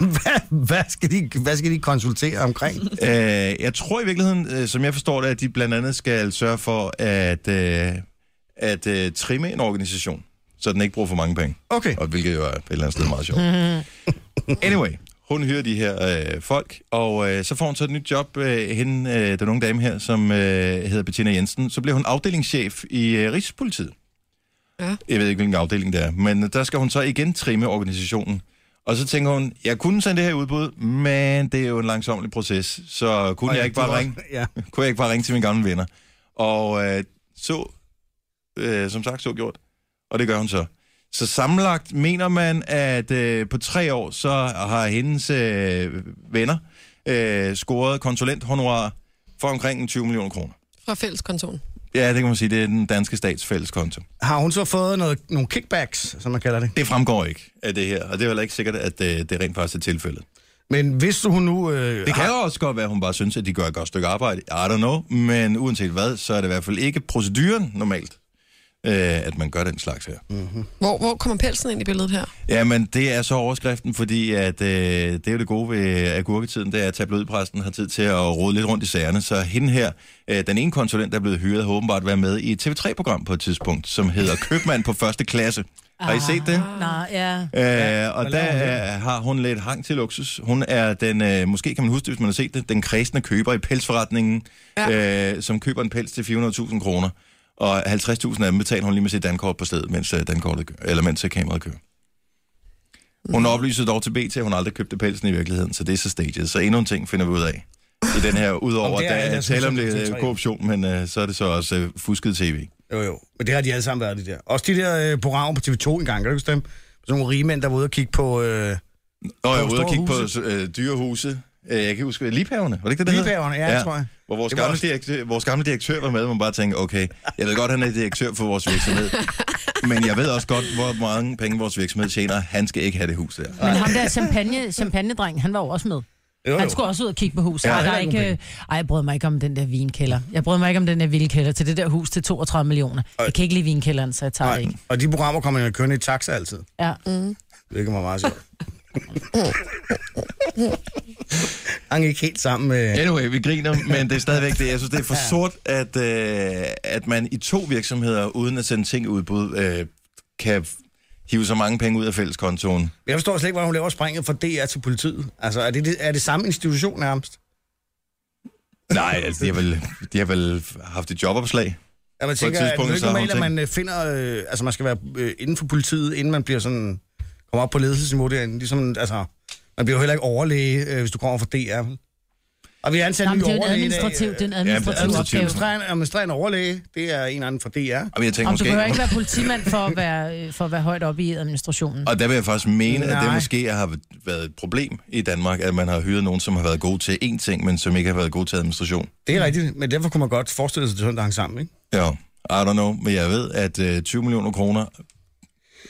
Speaker 3: hvad, hvad, skal de, hvad skal de konsultere omkring?
Speaker 1: Øh, jeg tror i virkeligheden, øh, som jeg forstår det, at de blandt andet skal sørge for at, øh, at øh, trimme en organisation, så den ikke bruger for mange penge.
Speaker 3: Okay.
Speaker 1: Og hvilket jo er et eller andet sted meget sjovt. Anyway, hun hører de her øh, folk, og øh, så får hun så et nyt job, øh, hende, øh, den unge dame her, som øh, hedder Bettina Jensen. Så bliver hun afdelingschef i øh, Rigspolitiet.
Speaker 5: Ja.
Speaker 1: Jeg ved ikke, hvilken afdeling det er, men øh, der skal hun så igen trimme organisationen. Og så tænker hun, jeg kunne sende det her i udbud, men det er jo en langsomlig proces, så kunne,
Speaker 3: Og
Speaker 1: jeg,
Speaker 3: ja,
Speaker 1: ikke
Speaker 3: det
Speaker 1: bare
Speaker 3: var-
Speaker 1: ringe,
Speaker 3: Ja.
Speaker 1: kunne jeg ikke bare ringe til mine gamle venner? Og øh, så, øh, som sagt, så gjort. Og det gør hun så. Så sammenlagt mener man, at øh, på tre år, så har hendes øh, venner øh, scoret konsulenthonorar for omkring en 20 millioner kroner.
Speaker 5: fra fælleskontoren.
Speaker 1: Ja, det kan man sige, det er den danske stats fælleskonto.
Speaker 3: Har hun så fået noget, nogle kickbacks, som man kalder det?
Speaker 1: Det fremgår ikke af det her, og det er heller ikke sikkert, at øh, det rent faktisk er tilfældet.
Speaker 3: Men hvis hun nu...
Speaker 1: Det
Speaker 3: Øh,
Speaker 1: kan
Speaker 3: har,
Speaker 1: jo også godt være, at hun bare synes, at de gør et godt stykke arbejde. I don't know. Men uanset hvad, så er det i hvert fald ikke proceduren normalt, øh, at man gør den slags her.
Speaker 5: Hvor, hvor kommer pelsen ind i billedet her?
Speaker 1: Jamen, det er så overskriften, fordi at, øh, det er jo det gode ved agurketiden, det er, at tabloidpræsten har tid til at rode lidt rundt i sagerne. Så hende her, øh, den ene konsulent, der er blevet hyret, har åbenbart været med i et TV3-program på et tidspunkt, som hedder Købmand på første klasse. Har I set det?
Speaker 4: Nej, ja.
Speaker 1: Øh, og
Speaker 3: hvad
Speaker 1: der
Speaker 3: laver hun
Speaker 1: er, har hun lidt hang til luksus. Hun er den, øh, måske kan man huske det, hvis man har set det, den kredsende køber i pelsforretningen, ja. øh, som køber en pels til 400.000 kroner. Og 50.000 af dem betaler hun lige med sit dankort på stedet, mens, øh, dankortet kører, eller mens øh, kameraet kører.
Speaker 3: Mm.
Speaker 1: Hun oplyser dog til BT, at hun aldrig købte pelsen i virkeligheden, så det er så staged. Så endnu en ting finder vi ud af i den her, udover
Speaker 3: Om
Speaker 1: at
Speaker 3: det er
Speaker 1: der er
Speaker 3: ellers
Speaker 1: tale om
Speaker 3: sådan
Speaker 1: lidt
Speaker 3: til
Speaker 1: øh,
Speaker 3: tre.
Speaker 1: korruption, men øh, så er det så også øh, fusket tv.
Speaker 3: jo, jo. Men det har de alle sammen været, det der. Også de der øh, programmer på TV2 engang, kan du huske dem? Sådan nogle rige mænd, der var ude og kigge på... Øh,
Speaker 1: Nå, jeg var
Speaker 3: Nogle
Speaker 1: ude og kigge
Speaker 3: store
Speaker 1: på øh, dyrehuse. Øh, jeg kan ikke huske, Liphavene, var det ikke det, det hed?
Speaker 3: Liebhaverne, ja, ja, tror jeg.
Speaker 1: Hvor vores
Speaker 3: Det var
Speaker 1: gamle,
Speaker 3: også-
Speaker 1: direktør, vores gamle direktør var med, og man bare tænkte, okay, jeg ved godt, han er direktør for vores virksomhed, men jeg ved også godt, hvor mange penge vores virksomhed tjener. Han skal ikke have det hus der.
Speaker 4: Men ham der champagne, champagnedreng, han var jo også med.
Speaker 3: Jo, jo.
Speaker 4: Han skulle også ud og kigge på huset.
Speaker 3: Ja,
Speaker 4: Ja, Ej,
Speaker 3: heller
Speaker 4: der er
Speaker 3: ikke
Speaker 4: ikke,
Speaker 3: nogen
Speaker 4: øh, Ej, jeg brød mig ikke om den der vinkælder. Jeg brød mig ikke om den der vinkælder til det der hus til 32 millioner. Jeg kan ikke lide vinkælderen, så jeg tager det
Speaker 3: Nej,
Speaker 4: ikke.
Speaker 3: og de programmer kommer jo kørende i taxa altid.
Speaker 4: Ja.
Speaker 5: Mm.
Speaker 3: Hvilket var meget sjovt. Han gik helt sammen med...
Speaker 1: Anyway, vi griner, men det er stadigvæk det. Jeg synes, det er for sort, at, øh, at man i to virksomheder, uden at sende ting i udbud, øh, kan hive så mange penge ud af fælleskontoen.
Speaker 3: Jeg forstår slet ikke, hvordan hun laver springet fra DR til politiet. Altså, er det, det, er det samme institution nærmest?
Speaker 1: Nej, altså, de har vel, de har vel haft et jobopslag.
Speaker 3: Ja, man
Speaker 1: et
Speaker 3: tænker, er det
Speaker 1: tidspunkt,
Speaker 3: jo ikke
Speaker 1: så har hun
Speaker 3: normalt, at
Speaker 1: tænkt-
Speaker 3: man øh, finder... Øh, altså, man skal være øh, inden for politiet, inden man bliver sådan... Kommer op på ledelsesniveau derinde. Ligesom, altså, man bliver jo heller ikke overlæge, øh, hvis du kommer fra DR. vel? Og vi har ansat
Speaker 4: Nej,
Speaker 3: en
Speaker 4: men
Speaker 3: ny
Speaker 4: det er jo en
Speaker 3: overlæge i dag.
Speaker 4: administrativ, det er en
Speaker 1: det er
Speaker 4: administrativ
Speaker 1: administrativ.
Speaker 4: opgave.
Speaker 3: Administrerende, administrerende overlæge, det er en anden fra DR.
Speaker 1: Og jeg tænker,
Speaker 4: Om du
Speaker 1: måske,
Speaker 4: behøver ikke være politimand for at være, øh, for at være højt oppe i administrationen.
Speaker 1: Og der vil jeg faktisk mene, Nej. at det
Speaker 3: Nej.
Speaker 1: måske har været et problem i Danmark, at man har hyret nogen, som har været gode til én ting, men som ikke har været gode til administration.
Speaker 3: Det er rigtigt, men derfor kunne man godt forestille sig, at det sådan, der hang sammen, ikke?
Speaker 1: Ja, I don't know, men jeg ved, at øh, 20 millioner kroner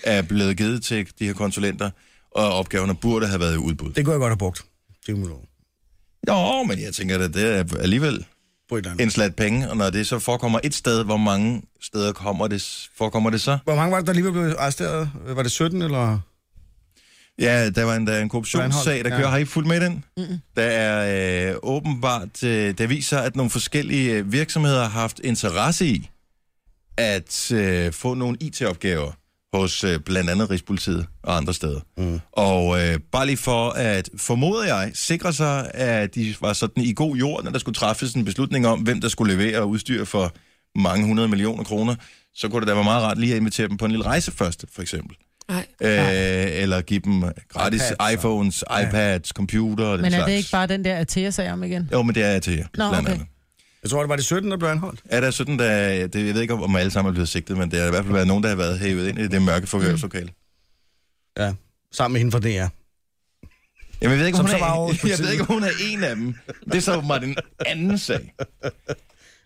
Speaker 1: er blevet givet til de her konsulenter, og opgaverne burde have været i udbud.
Speaker 3: Det kunne jeg godt have brugt. 20 millioner.
Speaker 1: Jo, men jeg tænker, at det er alligevel
Speaker 3: På et eller andet.
Speaker 1: en slat penge, og når det så forekommer et sted, hvor mange steder kommer det, forekommer det så?
Speaker 3: Hvor mange var det, der alligevel blev arresteret? Var det 17, eller?
Speaker 1: Ja, der var en, der er en korruptionssag, der
Speaker 3: Ja.
Speaker 1: kører. Har I fuldt med i den? Mm-mm. Der er øh, åbenbart, øh, der viser, at nogle forskellige øh, virksomheder har haft interesse i at øh, få nogle IT-opgaver hos øh, blandt andet Rigspolitiet og andre steder. Mm. Og øh, bare lige for at, formoder jeg, sikre sig, at de var sådan i god jord, når der skulle træffes en beslutning om, hvem der skulle levere udstyr for mange hundrede millioner kroner, så kunne det da være meget rart lige at invitere dem på en lille rejse først, for eksempel.
Speaker 5: Nej.
Speaker 1: Øh, eller give dem gratis
Speaker 3: iPads
Speaker 1: iPads,
Speaker 3: og-
Speaker 1: iPhones, iPads, computer og den
Speaker 4: Men er
Speaker 1: slags.
Speaker 4: det ikke bare den der Atea-sag om igen?
Speaker 1: Jo, men det er til jer,
Speaker 4: Nå,
Speaker 1: blandt
Speaker 4: okay.
Speaker 1: andet.
Speaker 3: Jeg tror, det var det 17, der blev anholdt.
Speaker 1: Er der sådan, der, det, jeg ved ikke, om alle sammen er blevet sigtet, men der har i hvert fald været nogen, der har været hævet ind i det mørke forhørslokale.
Speaker 4: Mm.
Speaker 3: Ja, sammen med hende fra DR.
Speaker 1: Jamen, jeg ved, ikke, om
Speaker 3: Som
Speaker 1: hun
Speaker 3: så var over
Speaker 1: er,
Speaker 3: hos
Speaker 1: jeg ved ikke, om hun er en af dem. Det er så åbenbart en anden sag.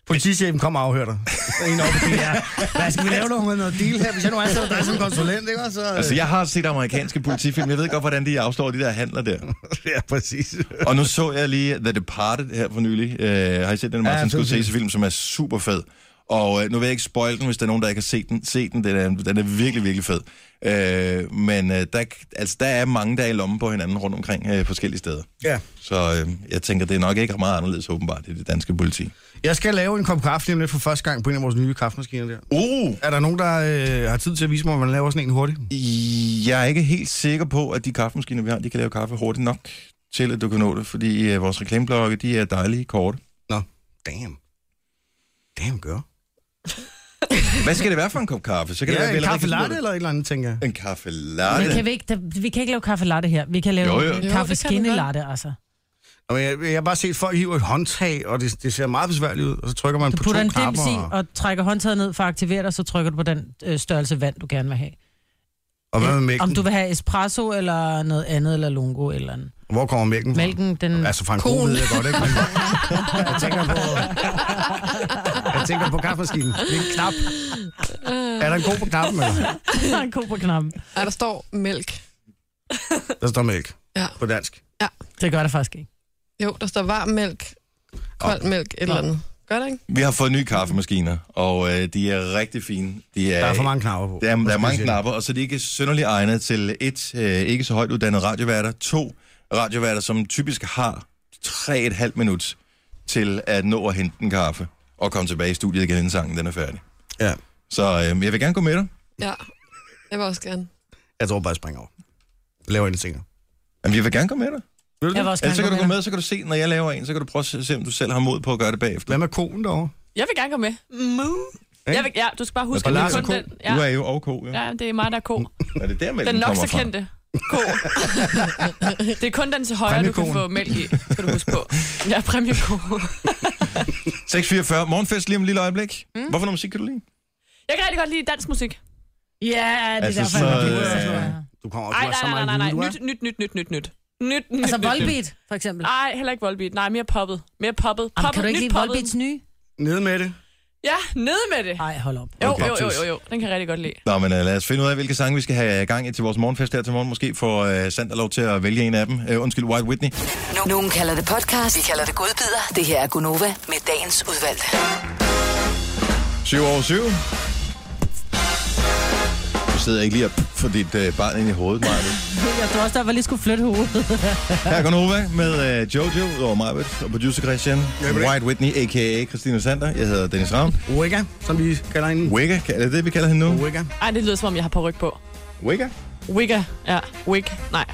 Speaker 3: Politichefen kom og afhørte dig. Så En over på DR. Hvad skal vi lave noget med noget deal her? Hvis jeg nu ansætter dig som konsulent, ikke? Og Så, øh.
Speaker 1: Altså, jeg har set amerikanske politifilm. Jeg ved godt, hvordan de afslår de der handler der.
Speaker 3: ja, præcis.
Speaker 1: Og nu så jeg lige The Departed her for nylig. Øh, har I set den Martin
Speaker 3: fed
Speaker 1: Scorsese-film, som er super fed? Og øh, nu vil jeg ikke spoil den, hvis der er nogen, der ikke har set den. Se den, den er, den er virkelig, virkelig fed. Øh, men øh, der, altså, der er mange, der er i lommen på hinanden rundt omkring øh, forskellige steder.
Speaker 3: Ja.
Speaker 1: Så øh, jeg tænker, det er nok ikke meget anderledes åbenbart i det danske politi.
Speaker 3: Jeg skal lave en kop kaffe lige om lidt for første gang på en af vores nye kaffemaskiner der.
Speaker 1: Uh!
Speaker 3: Er der nogen, der øh, har tid til at vise mig, hvordan man laver sådan en hurtigt?
Speaker 1: Jeg er ikke helt sikker på, at de kaffemaskiner, vi har, de kan lave kaffe hurtigt nok til, at du kan nå det, fordi øh, vores reklameblokke, de er dejlige korte.
Speaker 3: Nå, damn. Damn, gør.
Speaker 1: Hvad skal det være for en kop kaffe? Så kan det
Speaker 3: Ja,
Speaker 1: være,
Speaker 3: en
Speaker 1: vi allerede
Speaker 3: kaffe
Speaker 1: kan
Speaker 3: latte
Speaker 1: nå
Speaker 3: eller et eller andet, tænker jeg.
Speaker 1: det. En kaffe
Speaker 4: Men
Speaker 1: latte?
Speaker 4: kan vi, ikke, der, vi kan ikke lave kaffe latte her. Vi kan lave
Speaker 1: Jo, jo.
Speaker 4: jo,
Speaker 1: Jo,
Speaker 5: det
Speaker 4: jo.
Speaker 5: kan
Speaker 4: kaffe
Speaker 5: vi
Speaker 4: skinne
Speaker 5: godt.
Speaker 4: latte, altså.
Speaker 3: Nå, men jeg, jeg har bare set folk hive et håndtag, og det, det ser meget besværligt ud, og så trykker man
Speaker 4: Du
Speaker 3: på
Speaker 4: putter
Speaker 3: to
Speaker 4: en dims
Speaker 3: knapper.
Speaker 4: i
Speaker 3: Og,
Speaker 4: og trækker håndtaget ned for at aktivere dig, så trykker du på den øh, størrelse vand, du gerne vil have.
Speaker 3: og hvad med
Speaker 4: Om
Speaker 3: mælken?
Speaker 4: du vil have espresso eller noget andet, eller lungo eller andet.
Speaker 3: Hvor kommer mælken fra?
Speaker 4: Mælken, den...
Speaker 3: Altså fra en ko
Speaker 5: Koen.
Speaker 3: ved jeg godt, ikke? Men jeg tænker på... Jeg tænker på kaffemaskinen. Det er en knap. Er der en ko på knappen, eller?
Speaker 4: Der er en ko på knappen.
Speaker 5: Ej, der står mælk.
Speaker 3: Der står mælk.
Speaker 5: Ja.
Speaker 3: På dansk.
Speaker 4: Det gør der faktisk ikke.
Speaker 5: Jo, der står varm mælk, kold mælk, et eller andet. Gør det ikke?
Speaker 1: Vi har fået nye kaffemaskiner, og øh, de er rigtig fine. De er,
Speaker 3: Der er for mange knapper på.
Speaker 1: Der er, der er
Speaker 3: Måske
Speaker 1: mange
Speaker 3: siger
Speaker 1: knapper, og så er de ikke synderligt egnet til et, øh, ikke så højt uddannet radioværter, to radioværter, som typisk har tre et halvt minut til at nå at hente en kaffe og komme tilbage i studiet igen, inden sangen den er færdig.
Speaker 3: jeg. Ja.
Speaker 1: Så øh, jeg vil gerne gå med dig.
Speaker 5: Ja, jeg vil også gerne.
Speaker 3: Jeg tror bare, jeg springer over. Jeg laver ingenting.
Speaker 1: Jamen, jeg vil gerne gå med dig.
Speaker 3: Vil du
Speaker 4: Jeg
Speaker 3: det?
Speaker 4: var også
Speaker 1: Ellers så kan du
Speaker 4: gerne
Speaker 1: gå med, så kan du se, når jeg laver en, så kan du prøve at se, se, om du selv har mod på at gøre det bagefter.
Speaker 3: Hvad med koen derovre?
Speaker 2: Jeg vil gerne komme med.
Speaker 3: Ikke?
Speaker 2: Jeg vil, ja, du skal bare huske,
Speaker 1: Og
Speaker 2: at det
Speaker 1: Lars
Speaker 2: er
Speaker 1: er
Speaker 2: kun
Speaker 1: ko.
Speaker 2: den. Ja,
Speaker 1: Du er jo og ko, ja.
Speaker 2: ja, det er mig, der er ko.
Speaker 1: Er det der, med
Speaker 2: Den
Speaker 1: den
Speaker 2: nok
Speaker 1: kommer
Speaker 2: så
Speaker 1: fra?
Speaker 2: kendte ko. Det er kun den til højre, du kan
Speaker 3: Præmiekoen.
Speaker 2: få mælk i, skal du huske på. Ja, præmieko.
Speaker 1: 6.44. Morgenfest lige om et lille øjeblik. Mm. Hvorfor noget musik kan du lide?
Speaker 2: Jeg kan rigtig godt lide dansk musik.
Speaker 4: Ja, det er
Speaker 1: Altså,
Speaker 4: altså, derfor,
Speaker 1: så,
Speaker 4: jeg var
Speaker 1: øh,
Speaker 4: blevet sådan noget.
Speaker 3: Du kommer
Speaker 2: Ej,
Speaker 3: du har så
Speaker 2: nej, nej,
Speaker 3: meget
Speaker 2: nej, nej,
Speaker 3: viden,
Speaker 2: nej.
Speaker 3: du er.
Speaker 2: Nyt, nyt, nyt, nyt, nyt, nyt. Nyt, nyt,
Speaker 4: Altså
Speaker 2: nyt, nyt.
Speaker 4: Volbeat, for eksempel.
Speaker 2: Nej, heller ikke Volbeat. Nej, mere poppet. Mere poppet.
Speaker 4: Jamen,
Speaker 2: poppet
Speaker 4: kan du ikke
Speaker 2: nyt
Speaker 4: lide
Speaker 2: poppet.
Speaker 4: Volbeats nye?
Speaker 3: Nede med det.
Speaker 2: Ja, nede med det.
Speaker 4: Nej, hold op.
Speaker 2: Jo,
Speaker 1: Okay.
Speaker 2: jo, jo, jo, jo. Den kan jeg rigtig godt lide.
Speaker 1: Nå, men uh, lad os finde ud af, hvilke sange vi skal have i gang i til vores morgenfest her til morgen. Måske får uh, Sander lov til at vælge en af dem. Uh, undskyld, White Whitney.
Speaker 6: Nu- Nogen kalder det podcast, vi kalder det godbider. Det her er Gunova med dagens udvalgte.
Speaker 1: 7 over 7. Du sidder ikke lige og for dit uh, barn ind i hovedet, Maja.
Speaker 4: Jeg tror også, der var lige skulle flytte hovedet.
Speaker 1: Her går Nova med uh, Jojo over Majbet og producer Christian. White Whitney, a.k.a. Christina Sander. Jeg hedder Dennis Ravn.
Speaker 3: Oega, som vi kalder hende.
Speaker 1: Wigga, er det det, vi kalder hende nu?
Speaker 3: Oega.
Speaker 2: Ej, det lyder som om, jeg har på ryg på.
Speaker 1: Wigga?
Speaker 2: Wigga. Ja, wig. Nej.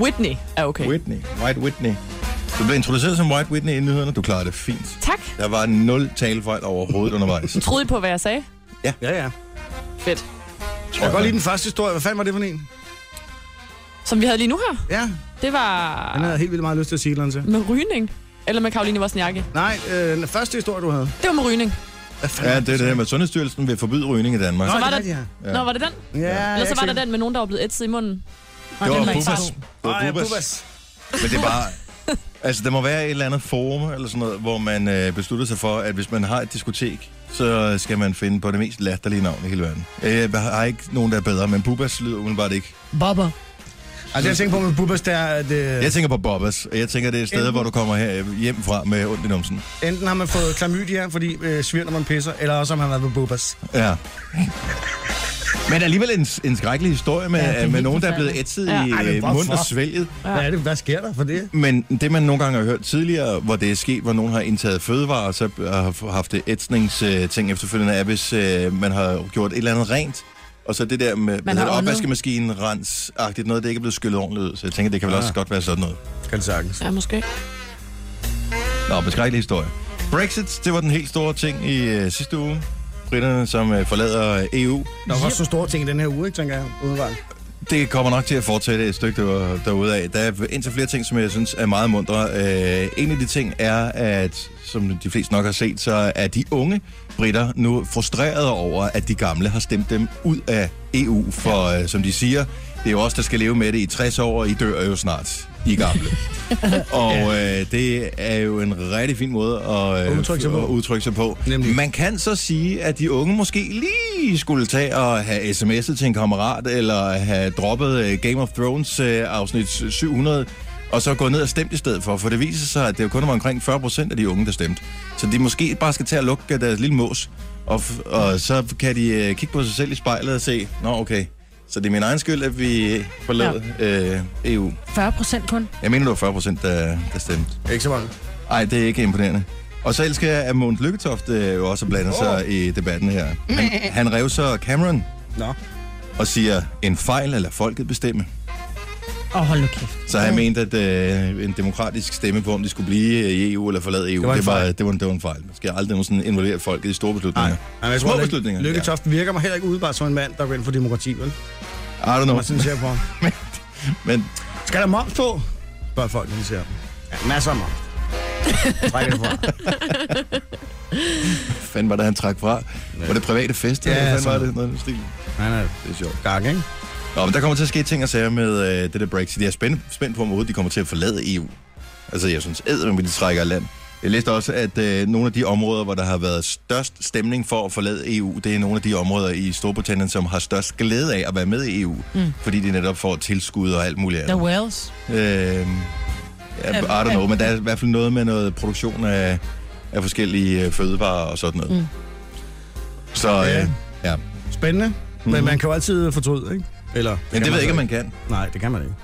Speaker 2: Whitney er okay.
Speaker 1: Whitney. White Whitney. Du blev introduceret som White Whitney i nyhederne. Du klarede det fint.
Speaker 2: Tak.
Speaker 1: Der var nul talefejl overhovedet undervejs.
Speaker 2: Troede I på, hvad jeg sagde?
Speaker 3: Ja, ja.
Speaker 2: Fedt.
Speaker 1: Tror
Speaker 3: Jeg kan godt lide den første historie. Hvad fanden var det for en?
Speaker 2: Som vi havde lige nu her.
Speaker 3: Ja,
Speaker 2: Det var
Speaker 3: han havde helt vildt meget lyst til at sige et eller andet til.
Speaker 2: med rygning. Eller med Karoline Vosniakke.
Speaker 3: Nej, øh, den første historie, du havde.
Speaker 2: Det var med rygning.
Speaker 3: Hvad fanden
Speaker 1: Ja,
Speaker 3: var
Speaker 1: det er det her med, at Sundhedsstyrelsen vil forbyde rygning i Danmark.
Speaker 2: Så
Speaker 3: Nå,
Speaker 2: var
Speaker 3: det er
Speaker 2: der-
Speaker 3: rigtigt, ja.
Speaker 1: Ja.
Speaker 2: Ja. Nå, var det den?
Speaker 3: Ja, jeg
Speaker 2: Eller
Speaker 3: er
Speaker 2: så
Speaker 3: ikke
Speaker 2: var der
Speaker 3: sikker.
Speaker 2: den med nogen, der var blevet ætset i munden.
Speaker 1: Det var
Speaker 4: den var ikke
Speaker 1: Bubas.
Speaker 4: så
Speaker 1: Det var
Speaker 3: Ej,
Speaker 1: Bubas.
Speaker 3: Bubas.
Speaker 1: Men det er bare... Altså, der må være et eller andet forum eller sådan noget, hvor man øh, beslutter sig for, at hvis man har et diskotek, så skal man finde på det mest latterlige navn i hele verden. Øh, Jeg har ikke nogen, der er bedre, men Bubas lyder umiddelbart ikke.
Speaker 4: Bobber.
Speaker 3: Ej, det Altså, jeg tænker på med Bubas, det er, at øh,
Speaker 1: Jeg tænker på Bobas, og jeg tænker, det er et sted, hvor du kommer her øh, hjem fra med ondt i numsen.
Speaker 3: enten har man fået klamydia, fordi øh, svir, når man pisser, eller også har man været på Bubas.
Speaker 1: Ja. Men alligevel en, en skrækkelig historie med,
Speaker 4: Ja, det er
Speaker 1: ja, med
Speaker 4: helt
Speaker 1: nogen, der er blevet ætset ja. i
Speaker 3: Ej, men
Speaker 1: øh, mund og
Speaker 3: hvorfor?
Speaker 1: svælget.
Speaker 3: Ja. Hvad, er det, hvad sker der for det?
Speaker 1: Men det, man nogle gange har hørt tidligere, hvor det er sket, hvor nogen har indtaget fødevarer, og så øh, har haft ætsningsting efterfølgende, er, hvis øh, man har gjort et eller andet rent, Og så det der med hvad hedder
Speaker 4: har
Speaker 1: det,
Speaker 4: åndet.
Speaker 1: opvaskemaskinen, rens-agtigt noget, det ikke er blevet skyllet ordentligt ud. Så jeg tænker, det kan vel
Speaker 3: Ah.
Speaker 1: også godt være sådan noget.
Speaker 3: Kan det sagtens.
Speaker 5: Ja, måske.
Speaker 1: Nå, beskrækkelig historie. Brexit, det var den helt store ting i øh, sidste uge. Britterne, som øh, forlader EU.
Speaker 3: Der var også så store ting i den her uge, ikke, tænker jeg, udenvejt.
Speaker 1: Det kommer nok til at fortsætte et stykke der- derude af. Der er indtil flere ting, som jeg synes er meget mundre. Øh, en af de ting er, at som de fleste nok har set, så er de unge britter nu frustrerede over, at de gamle har stemt dem ud af EU. For øh, som de siger, det er jo os, der skal leve med det i 60 år, og I dør jo snart. I er gamle. og øh, det er jo en rigtig fin måde at, øh,
Speaker 3: Udtrykke sig på.
Speaker 1: at udtrykke sig på.
Speaker 3: Nemlig.
Speaker 1: Man kan så sige, at de unge måske lige skulle tage og have sms'et til en kammerat, eller have droppet øh, Game of Thrones øh, afsnit 700, og så gå ned og stemme i stedet for. For det viser sig, at det jo kun var omkring 40 procent af de unge, der stemte. Så de måske bare skal tage og lukke øh, deres lille mås, og, f- og så kan de øh, kigge på sig selv i spejlet og se, nå okay, så det er min egen skyld, at vi forlod ja. øh, EU.
Speaker 4: 40 procent kun.
Speaker 1: Jeg mener, det var 40 procent, der, der stemte.
Speaker 3: Ikke så mange.
Speaker 1: Nej, det er ikke imponerende. Og så elsker jeg, at Mogens Lykketoft øh, jo også blander sig i debatten her. Han, han rev så Cameron
Speaker 3: Nå.
Speaker 1: og siger, en fejl eller folket bestemme.
Speaker 4: Åh, oh, hold nu kæft.
Speaker 1: Så han mente, at øh, en demokratisk stemme på, om de skulle blive øh, i EU eller forlade EU,
Speaker 3: Det var en
Speaker 1: det var,
Speaker 3: fejl.
Speaker 1: det var, en, det var en fejl. Man skal aldrig nogensinde involvere folket i store beslutninger.
Speaker 3: Nej. Men jeg tror,
Speaker 1: Små
Speaker 3: Lykke-
Speaker 1: beslutninger.
Speaker 3: Lykke Toft virker mig heller ikke udebart som en mand, der går ind for demokrati, vel?
Speaker 1: Ja. I don't know.
Speaker 3: Hvad synes jeg på ham?
Speaker 1: Men
Speaker 3: Skal der moms på? Spørger folk, når de ser dem. Ja, masser af moms. Træk det fra.
Speaker 1: hvad fanden var det, han trak fra? Var det private fester?
Speaker 3: Ja,
Speaker 1: Ja, hvad fanden var
Speaker 3: sådan
Speaker 1: det? Noget, i den stil.
Speaker 3: Han er
Speaker 1: det er sjovt.
Speaker 3: gang, ikke?
Speaker 1: Nå, men der kommer til at ske ting og sager med øh, det der Brexit. Jeg er spændt, spændt på, om overhovedet de kommer til at forlade EU. Altså, jeg synes, at de trækker af land. Jeg læste også, at øh, nogle af de områder, hvor der har været størst stemning for at forlade EU, det er nogle af de områder i Storbritannien, som har størst glæde af at være med i EU, mm. fordi de netop får tilskud og alt muligt
Speaker 4: Der
Speaker 1: andet.
Speaker 4: er Wales.
Speaker 1: Øh, ja, I don't know, men der er i hvert fald noget med noget produktion af, af forskellige øh, fødevarer og sådan noget. Mm. Så øh, ja,
Speaker 3: Spændende. Mm-hmm. Men man kan jo altid fortryde, ikke? Eller,
Speaker 1: men Mhm. det ved jeg ikke, om
Speaker 3: så
Speaker 1: man kan.
Speaker 3: Nej, det kan man ikke.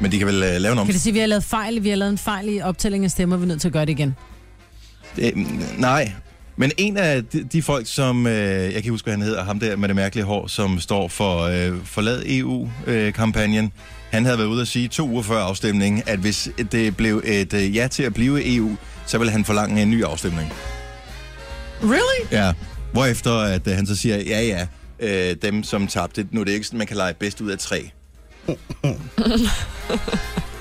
Speaker 1: Men de kan vel øh, lave en om
Speaker 4: Kan det sige, at vi har lavet fejl? Vi har lavet en fejl i optællingen af stemmer. Vi er nødt til at gøre det igen.
Speaker 1: Øh, nej. Men en af de, de folk, som, øh, jeg kan ikke huske, hvad han hedder, ham der med det mærkelige hår, som står for øh, forlad EU-kampagnen, øh, han havde været ude at sige to uger før afstemningen, at hvis det blev et øh, ja til at blive i EU, så ville han forlange en ny afstemning.
Speaker 4: Really?
Speaker 1: Ja. Hvorefter at, øh, han så siger, ja ja, øh, dem som tabte, nu er det ikke sådan, man kan lege bedst ud af tre. Det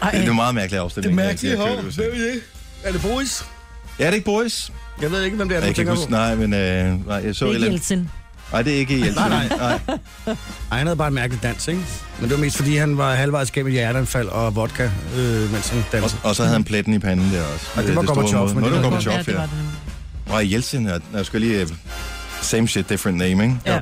Speaker 4: Ej,
Speaker 1: er en meget mærkelig afstemning. jeg- jeg- jeg- jeg-
Speaker 3: Hvem er det? Er det Boris?
Speaker 1: Ja, det er ikke Boris.
Speaker 3: Jeg ved ikke, hvem det er,
Speaker 1: Jeg
Speaker 3: du
Speaker 1: kan ikke
Speaker 3: tænker
Speaker 1: huske,
Speaker 3: på.
Speaker 1: nej, men øh, nej, jeg så
Speaker 4: det er
Speaker 1: et eller
Speaker 4: ikke
Speaker 1: andet-
Speaker 4: Jeltsin.
Speaker 1: Nej, det er ikke Jeltsin.
Speaker 3: Nej, nej.
Speaker 1: nej.
Speaker 3: Ej, han havde bare et mærkeligt dans, ikke? Men det var mest, fordi han var halvvejs gennem et hjerteanfald og vodka, øh, mens han
Speaker 1: Og,
Speaker 3: dansede.
Speaker 1: og så havde han pletten i panden der også.
Speaker 3: Og det var Gorbachev, men
Speaker 1: Men det
Speaker 3: det
Speaker 1: var
Speaker 3: var
Speaker 1: Gorbachev,
Speaker 4: det
Speaker 1: ja.
Speaker 4: var det.
Speaker 1: Og Jeltsin, er- jeg skal lige... øh, Same shit, different name, ikke?
Speaker 4: Ja.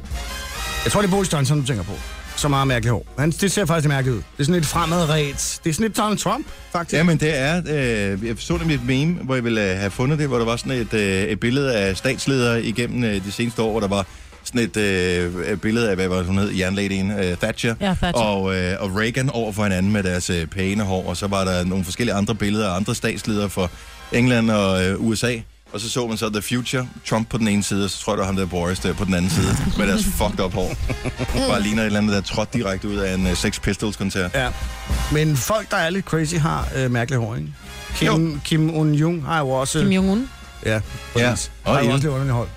Speaker 3: Jeg tror, det er Boris Johnson, du tænker på. Så meget mærkeligt hår. Han, det ser faktisk lidt mærkeligt ud. Det er sådan lidt fremadret. Det er sådan lidt Donald Trump, faktisk.
Speaker 1: Jamen, det er... Øh, jeg så nemlig et meme, hvor jeg ville øh, have fundet det, hvor der var sådan et, øh, et billede af statsledere igennem øh, de seneste år, hvor der var sådan et øh, billede af, hvad var det, hun hed, jernladyen øh, Thatcher,
Speaker 4: Ja, Thatcher.
Speaker 1: Og, øh, og Reagan over for hinanden med deres øh, pæne hår, og så var der nogle forskellige andre billeder af andre statsledere fra England og øh, USA, og så så man så The Future, Trump på den ene side, og så tror jeg, der var ham der Boris der på den anden side, med deres fucked up hår. Bare ligner et eller andet, der er trådt direkte ud af en øh, Sex Pistols-koncert.
Speaker 3: Ja. Men folk, der er lidt crazy, har øh, mærkeligt hår, ikke? Kim, Kim Un-jung har jo også...
Speaker 4: Kim Jong-un.
Speaker 3: Ja,
Speaker 1: Ja,
Speaker 3: præcis.
Speaker 1: og
Speaker 3: Har jo
Speaker 1: Il.
Speaker 3: også lidt underligt hold.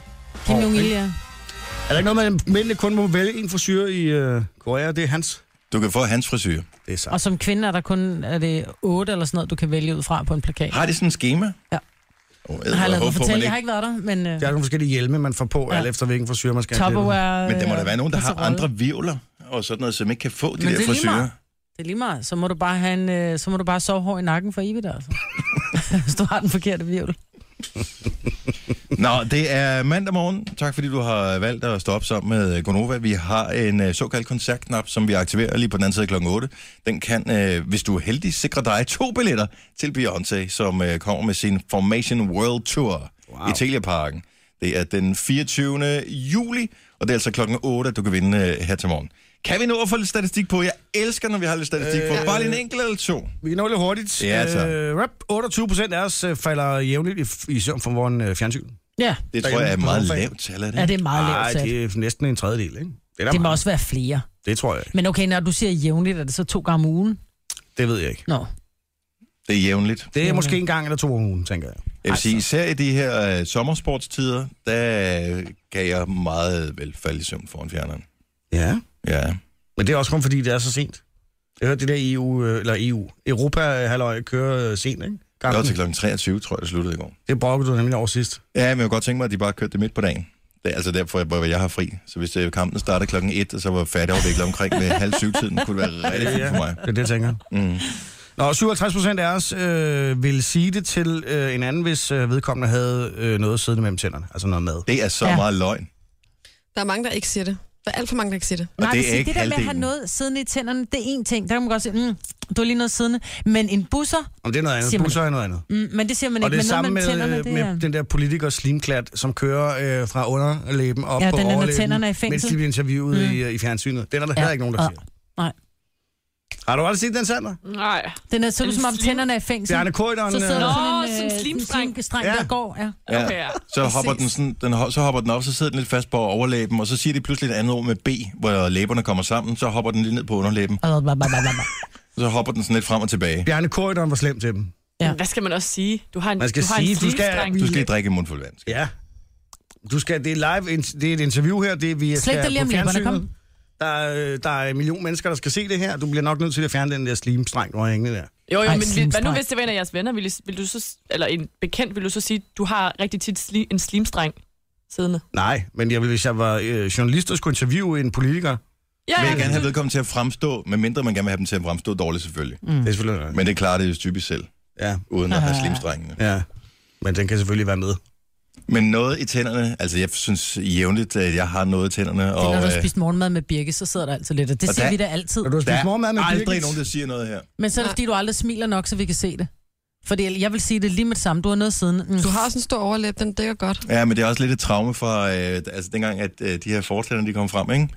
Speaker 4: Kim
Speaker 3: Hår,
Speaker 4: Jong-il,
Speaker 3: ikke?
Speaker 4: ja.
Speaker 3: Er der ikke noget med, at mændene kun må vælge en frisyr i øh, Korea? Det er hans.
Speaker 1: Du kan få hans frisyr.
Speaker 3: Det er sagt.
Speaker 4: Og som kvinde er der kun er det otte eller sådan noget, du kan vælge ud fra på en plakat.
Speaker 1: Har de sådan en schema?
Speaker 4: Ja.
Speaker 1: Oh,
Speaker 4: Jeg har lavet mig fortælle, jeg har ikke været der, men uh,
Speaker 3: Der er nogle forskellige hjelme, man får på,
Speaker 4: Ja.
Speaker 3: ja. alt efter hvilken frisyr man skal
Speaker 4: Tupperware...
Speaker 1: Men der må da
Speaker 4: øh,
Speaker 1: være nogen, der har
Speaker 4: kasserolle.
Speaker 1: andre vivler og sådan noget, som ikke kan få de
Speaker 4: Men det
Speaker 1: der
Speaker 4: er lige
Speaker 1: frisyrer.
Speaker 4: meget. Det er lige meget. Så må du bare, have en, øh, så må du bare sove hår i nakken for evigt, altså. Hvis du har den forkerte virvel.
Speaker 1: Nå, det er mandag morgen. Tak fordi du har valgt at stå op sammen med øh, Gonova. Vi har en øh, såkaldt koncertknap, som vi aktiverer lige på den anden side kl. 8. Den kan, øh, hvis du er heldig, sikre dig to billetter til Beyoncé, som øh, kommer med sin Formation World Tour wow. i Telia Parken. Det er den 24. juli, og det er altså klokken 8, at du kan vinde øh, her til morgen. Kan vi nå at få lidt statistik på? Jeg elsker, når vi har lidt statistik på. Bare lige en enkelt eller to.
Speaker 3: Vi kan nå lidt hurtigt.
Speaker 1: Ja, tak.
Speaker 3: Øh, rap, 28 procent af os øh, falder jævnligt i, f- i søvn fra vores øh, fjernsyn.
Speaker 4: Ja,
Speaker 1: Det tror
Speaker 3: Derhjemme
Speaker 1: jeg er et
Speaker 3: på
Speaker 1: meget
Speaker 3: sofaen.
Speaker 1: lavt tal, er det?
Speaker 4: ja det er meget lavt
Speaker 3: Nej,
Speaker 4: sat.
Speaker 3: det er næsten en tredjedel, ikke? Det, er
Speaker 4: Det
Speaker 3: der
Speaker 4: må
Speaker 3: mange.
Speaker 4: også være flere.
Speaker 3: det tror jeg ikke.
Speaker 4: Men okay, når du siger jævnligt, er det så to gange om ugen?
Speaker 3: Det ved jeg ikke.
Speaker 4: Nå.
Speaker 1: Det er jævnligt.
Speaker 3: Det er måske en gang eller to om ugen, tænker jeg.
Speaker 1: Jeg vil sige, især i de her øh, sommersportstider, der øh, kan jeg meget vel falde i søvn foran fjerneren.
Speaker 3: Ja.
Speaker 1: Ja.
Speaker 3: Men det er også kun fordi, det er så sent. Jeg hørte det der EU, øh, eller EU, Europa halvøj kører øh, sent, ikke?
Speaker 1: Det var
Speaker 3: Kampen.
Speaker 1: til kl. 23, tror jeg, det sluttede i går.
Speaker 3: Det brokkede du nemlig over sidst.
Speaker 1: Ja, men jeg kunne godt tænke mig, at de bare kørte det midt på dagen. Det er altså derfor, hvor jeg har fri. Så hvis øh, kampen starter klokken 1, og så var færdigafviklet omkring ved halv syv tiden, kunne det være rigtig fint for mig.
Speaker 3: Det er det, jeg tænker.
Speaker 1: Mm.
Speaker 3: Nå, 57 procent af os øh, ville sige det til øh, en anden, hvis øh, vedkommende havde øh, noget siddende mellem tænderne. Altså noget mad.
Speaker 1: Det er så ja.
Speaker 4: Ja.
Speaker 1: meget løgn.
Speaker 5: Der er mange, der ikke siger det. Der er alt for mange, der ikke siger det.
Speaker 1: Og
Speaker 4: Nej,
Speaker 1: det
Speaker 4: det,
Speaker 1: er
Speaker 4: sige,
Speaker 1: ikke
Speaker 4: det der med at have
Speaker 1: halvdelen.
Speaker 4: noget siddende i tænderne, det er én ting. Der kan man godt sige, mm, du har lige noget siddende. Men en busser,
Speaker 3: Om det er noget
Speaker 4: Siger
Speaker 3: andet.
Speaker 4: man
Speaker 3: Busser er noget andet.
Speaker 4: mm, men det siger man
Speaker 3: Og
Speaker 4: ikke.
Speaker 3: det er
Speaker 4: men noget
Speaker 3: samme med,
Speaker 4: mellem tænderne,
Speaker 3: øh,
Speaker 4: det
Speaker 3: med
Speaker 4: er...
Speaker 3: den der politikers slimklat, som kører øh, fra underlæben op
Speaker 4: Ja,
Speaker 3: på
Speaker 4: den der, når
Speaker 3: overlæben,
Speaker 4: tænderne er i fængsel.
Speaker 3: mens de bliver interviewet mm. i, øh, i fjernsynet. Den er der ja. heller ikke nogen, der
Speaker 4: Ja.
Speaker 3: siger.
Speaker 4: Nej.
Speaker 3: Har du aldrig set den, Sander?
Speaker 2: Nej.
Speaker 4: Den er så ud
Speaker 2: En
Speaker 4: som om
Speaker 2: slim-
Speaker 4: tænderne er i fængsel.
Speaker 3: Bjarne Køderen,
Speaker 4: Så sidder
Speaker 2: Nå,
Speaker 4: der
Speaker 3: øh,
Speaker 4: sådan en,
Speaker 2: sådan en
Speaker 4: øh,
Speaker 2: slimstreng.
Speaker 4: slimstreng,
Speaker 3: Ja.
Speaker 4: der går. Ja.
Speaker 1: Ja.
Speaker 2: Okay, ja.
Speaker 1: Så
Speaker 5: Præcis.
Speaker 1: hopper, den sådan, den, ho- så hopper den op, så sidder den lidt fast på overlæben, og så siger de pludselig et andet ord med B, hvor læberne kommer sammen, så hopper den lige ned på underlæben,
Speaker 4: Og bla, bla, bla, bla, bla.
Speaker 1: så hopper den sådan lidt frem og tilbage.
Speaker 3: Bjarne Køderen var slem til dem.
Speaker 4: Ja.
Speaker 2: Men Hvad skal man også sige? Du har en,
Speaker 3: Man skal
Speaker 2: du har
Speaker 3: sige,
Speaker 2: en
Speaker 3: du skal-
Speaker 2: slimstreng.
Speaker 1: Du skal lige drikke en mundfuld vand.
Speaker 3: Ja. Du skal, det er live, int- det er et interview her, det er, vi
Speaker 4: Slik dig
Speaker 3: skal
Speaker 4: lige om
Speaker 3: på
Speaker 4: læberne,
Speaker 3: fjernsynet. Der er, øh, der er en million mennesker, der skal se det her. Du bliver nok nødt til at fjerne den der slimstreng, du har hængende der.
Speaker 2: Jo, jo,
Speaker 4: Ej,
Speaker 2: men vil, hvad nu
Speaker 4: slimstreng.
Speaker 2: hvis det var en af jeres venner? Vil, I- vil du så, s- eller en bekendt, vil du så sige, du har rigtig tit sli, en slimstreng siddende?
Speaker 3: Nej, men jeg vil, hvis jeg var øh, journalist og skulle interviewe en politiker,
Speaker 4: Mm.
Speaker 2: Ja,
Speaker 1: Men jeg vil gerne have vedkommende til at fremstå, medmindre man gerne vil have dem til at fremstå dårligt selvfølgelig. Mm.
Speaker 3: mm. det er selvfølgelig noget.
Speaker 1: Men det klarer det jo typisk selv,
Speaker 3: Ja,
Speaker 1: uden at have slimstrengene.
Speaker 3: ja. Men den kan selvfølgelig være med.
Speaker 1: Men noget i tænderne, altså jeg synes jævnligt, at jeg har noget i tænderne.
Speaker 4: Det er,
Speaker 1: Og,
Speaker 4: når du har
Speaker 1: øh,
Speaker 4: spist morgenmad med birke, så sidder der altid lidt. Og det
Speaker 1: Og
Speaker 4: siger
Speaker 1: der-
Speaker 4: vi da altid.
Speaker 3: Når du har
Speaker 1: der
Speaker 3: spist morgenmad med
Speaker 1: er aldrig
Speaker 3: Birgit,
Speaker 1: nogen, der siger noget her.
Speaker 4: Men så er det,
Speaker 5: Nej.
Speaker 4: fordi du aldrig smiler nok, så vi kan se det. Fordi jeg vil sige det lige med det samme. Du har noget siden. Mm.
Speaker 5: Du har også en stor overlæb, den dækker godt.
Speaker 1: Ja, men det er også lidt et traume fra, øh, altså dengang, at øh, de her fortællerne, de kom frem, ikke?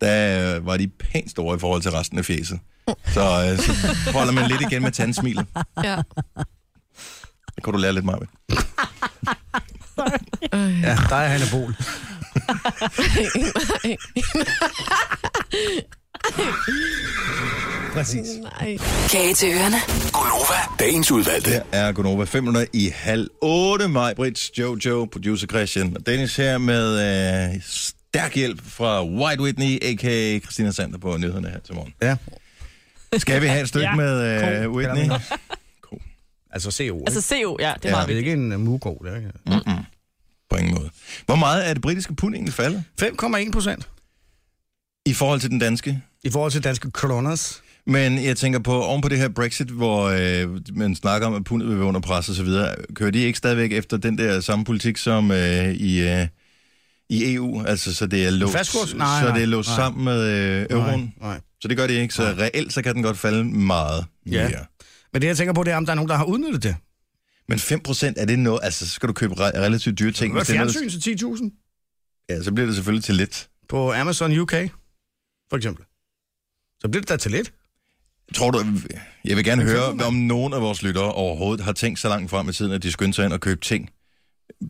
Speaker 1: Der øh, var de pænt store i forhold til resten af fjeset. Så, øh, så holder man lidt igen med tandsmilet.
Speaker 5: Ja.
Speaker 1: Det kunne du lære lidt meget ved.
Speaker 3: Ja, der er Hanne Bol. Præcis.
Speaker 5: Nej.
Speaker 6: Kage til ørerne.
Speaker 7: Gonova, dagens udvalgte.
Speaker 1: Her er Gonova 500 i halv 8. Maj, Brits, Jojo, producer Christian og Dennis her med øh, stærk hjælp fra White Whitney, a.k.a. Christina Sander på nyhederne her til morgen.
Speaker 3: Ja,
Speaker 1: Skal vi have et stykke
Speaker 2: Ja.
Speaker 1: med øh,
Speaker 3: Ko,
Speaker 1: Whitney?
Speaker 3: kalder altså se ordet.
Speaker 2: Altså
Speaker 3: Altså,
Speaker 2: CO, ja, det er
Speaker 1: Ja.
Speaker 2: ja.
Speaker 3: det
Speaker 2: meget
Speaker 3: er
Speaker 2: vigtigt.
Speaker 3: ikke en uh, mugo, det er ikke.
Speaker 1: På ingen måde. Hvor meget er det britiske pund egentlig faldet
Speaker 3: 5,1 procent
Speaker 1: i forhold til den danske?
Speaker 3: i forhold til danske kroners.
Speaker 1: Men jeg tænker på, oven på det her Brexit, hvor øh, man snakker om, at pundet vil være under pres og så videre, kører de ikke stadigvæk efter den der samme politik som øh, i, øh, i EU? Altså, så det er låst,
Speaker 3: Fastkurs? Nej,
Speaker 1: så
Speaker 3: nej,
Speaker 1: det er låst
Speaker 3: nej.
Speaker 1: sammen med øh, euroen?
Speaker 3: Nej, nej.
Speaker 1: Så det gør det ikke. Så reelt, så kan den godt falde meget mere.
Speaker 3: Ja.
Speaker 1: Ja.
Speaker 3: Men det, jeg tænker på, det er, om der er nogen, der har udnyttet det.
Speaker 1: Men 5% er det noget, altså så skal du købe re- relativt dyre ting.
Speaker 3: Hvad
Speaker 1: Hvis det er noget, der-
Speaker 3: fjernsyn til 10.000?
Speaker 1: ja, så bliver det selvfølgelig til lidt.
Speaker 3: På Amazon UK, for eksempel. Så bliver det da til lidt.
Speaker 1: Tror du, jeg vil gerne
Speaker 3: Men
Speaker 1: høre,
Speaker 3: finder man-
Speaker 1: om nogen af vores lyttere overhovedet har tænkt så langt frem i tiden, at de skyndte sig ind og købe ting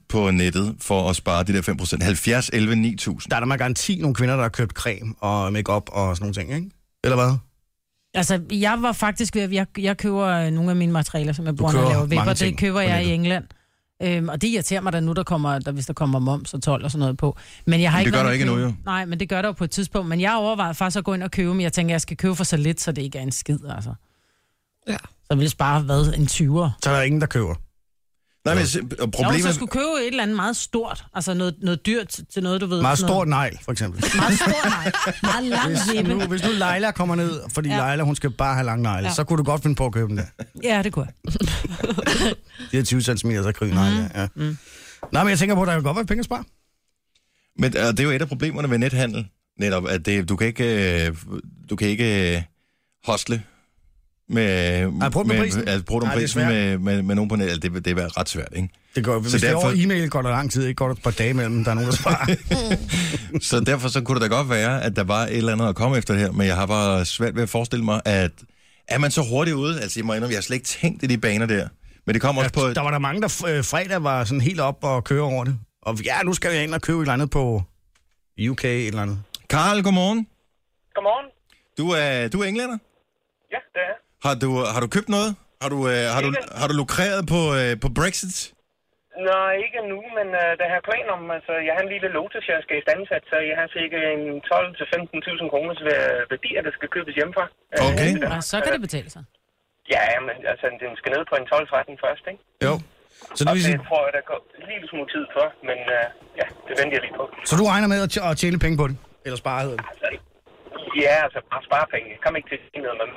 Speaker 1: på nettet for at spare de der 5%. 70, 11, 9000.
Speaker 3: Der er der med garanti nogle kvinder, der har købt creme og makeup og sådan nogle ting, ikke? Eller hvad?
Speaker 4: Altså, jeg var faktisk ved, at jeg, jeg køber øh, nogle af mine materialer, som jeg bruger, når
Speaker 3: køber
Speaker 4: jeg laver
Speaker 3: mange
Speaker 4: vipper.
Speaker 3: ting
Speaker 4: Det køber
Speaker 3: på
Speaker 4: jeg i
Speaker 3: nettet.
Speaker 4: England. Øhm, og det irriterer mig da nu, der kommer, der, hvis der kommer moms og 12 og sådan noget på. Men jeg har
Speaker 1: Men det
Speaker 4: ikke
Speaker 1: gør
Speaker 4: været
Speaker 1: der
Speaker 4: inde
Speaker 1: ikke
Speaker 4: og købe-
Speaker 1: endnu,
Speaker 4: Nej, men det gør der jo på et tidspunkt. Men jeg overvejede faktisk at gå ind og købe, men jeg tænker, jeg skal købe for så lidt, så det ikke er en skid, altså.
Speaker 5: Ja.
Speaker 4: Så vil jeg spare, hvad, en 20'er?
Speaker 3: Så er der ingen, der køber.
Speaker 1: Nej, men se- og
Speaker 4: Problemet... Jo,
Speaker 1: problemet...
Speaker 4: så skulle købe et eller andet meget stort, altså noget, noget dyrt til noget, du ved.
Speaker 3: Meget
Speaker 4: sådan
Speaker 3: stort
Speaker 4: noget-
Speaker 3: negl, for eksempel.
Speaker 4: Meget stort, nej. Meget lang
Speaker 3: Hvis
Speaker 4: vippe.
Speaker 3: nu, hvis nu Leila kommer ned, fordi ja.
Speaker 4: Ja.
Speaker 3: Leila, hun skal bare have lang negle, ja.
Speaker 4: Ja.
Speaker 3: så kunne du godt finde på at købe den der.
Speaker 4: Ja, det kunne jeg.
Speaker 3: De her 20 cm, så kryger negle, ja. Mm. Nej, men jeg tænker på, at der kan godt være penge at spare.
Speaker 1: Men og det er jo et af problemerne ved nethandel. Netop, at det, du kan ikke, øh, du kan ikke øh, hostle med,
Speaker 3: Nej, prøv med prisen.
Speaker 1: altså, prøv
Speaker 3: Nej,
Speaker 1: med,
Speaker 3: det er
Speaker 1: prisen
Speaker 3: svært.
Speaker 1: med, med, med nogen på nettet. Det, vil- det vil være ret svært, ikke?
Speaker 3: Det går, hvis derfor... det er
Speaker 1: derfor-
Speaker 3: over e-mail, går der lang tid, ikke går der et par dage imellem, der er nogen, der sparer.
Speaker 1: Så derfor så kunne det da godt være, at der var et eller andet at komme efter det her, men jeg har bare svært ved at forestille mig, at er man så hurtigt ude? Altså, jeg må indrømme, jeg har slet ikke tænkt i de baner der. Men det kommer også på...
Speaker 3: Ja, der var der mange, der øh, fredag var sådan helt op og køre over det. Og ja, nu skal jeg ind og købe et eller andet på UK et eller andet.
Speaker 1: Karl, godmorgen.
Speaker 8: Godmorgen.
Speaker 1: Du er, du er englænder.
Speaker 8: Ja, det er jeg.
Speaker 1: Har du, har du købt noget? Har du, øh, har du, har du lukreret på, øh, på Brexit?
Speaker 8: Nej, ikke nu, men uh, der har plan om, altså, jeg har en lille Lotus, jeg skal i standsat, så jeg har cirka en 12-15.000 kroners vær- værdier, der skal købes hjemmefra. Øh,
Speaker 1: Okay.
Speaker 4: Og så kan det betale sig.
Speaker 8: Ja, men altså, den skal ned på en 12-13 først, ikke?
Speaker 3: Jo. Så, det
Speaker 8: Og
Speaker 3: vil sige,
Speaker 8: det tror jeg, der går en lille smule tid for, men uh, ja, det venter jeg lige på.
Speaker 3: så du regner med at tj- at tjene penge på det? Eller spare hedder det?
Speaker 8: Altså, ja, altså, bare spare penge. Kom ikke til at sige noget, men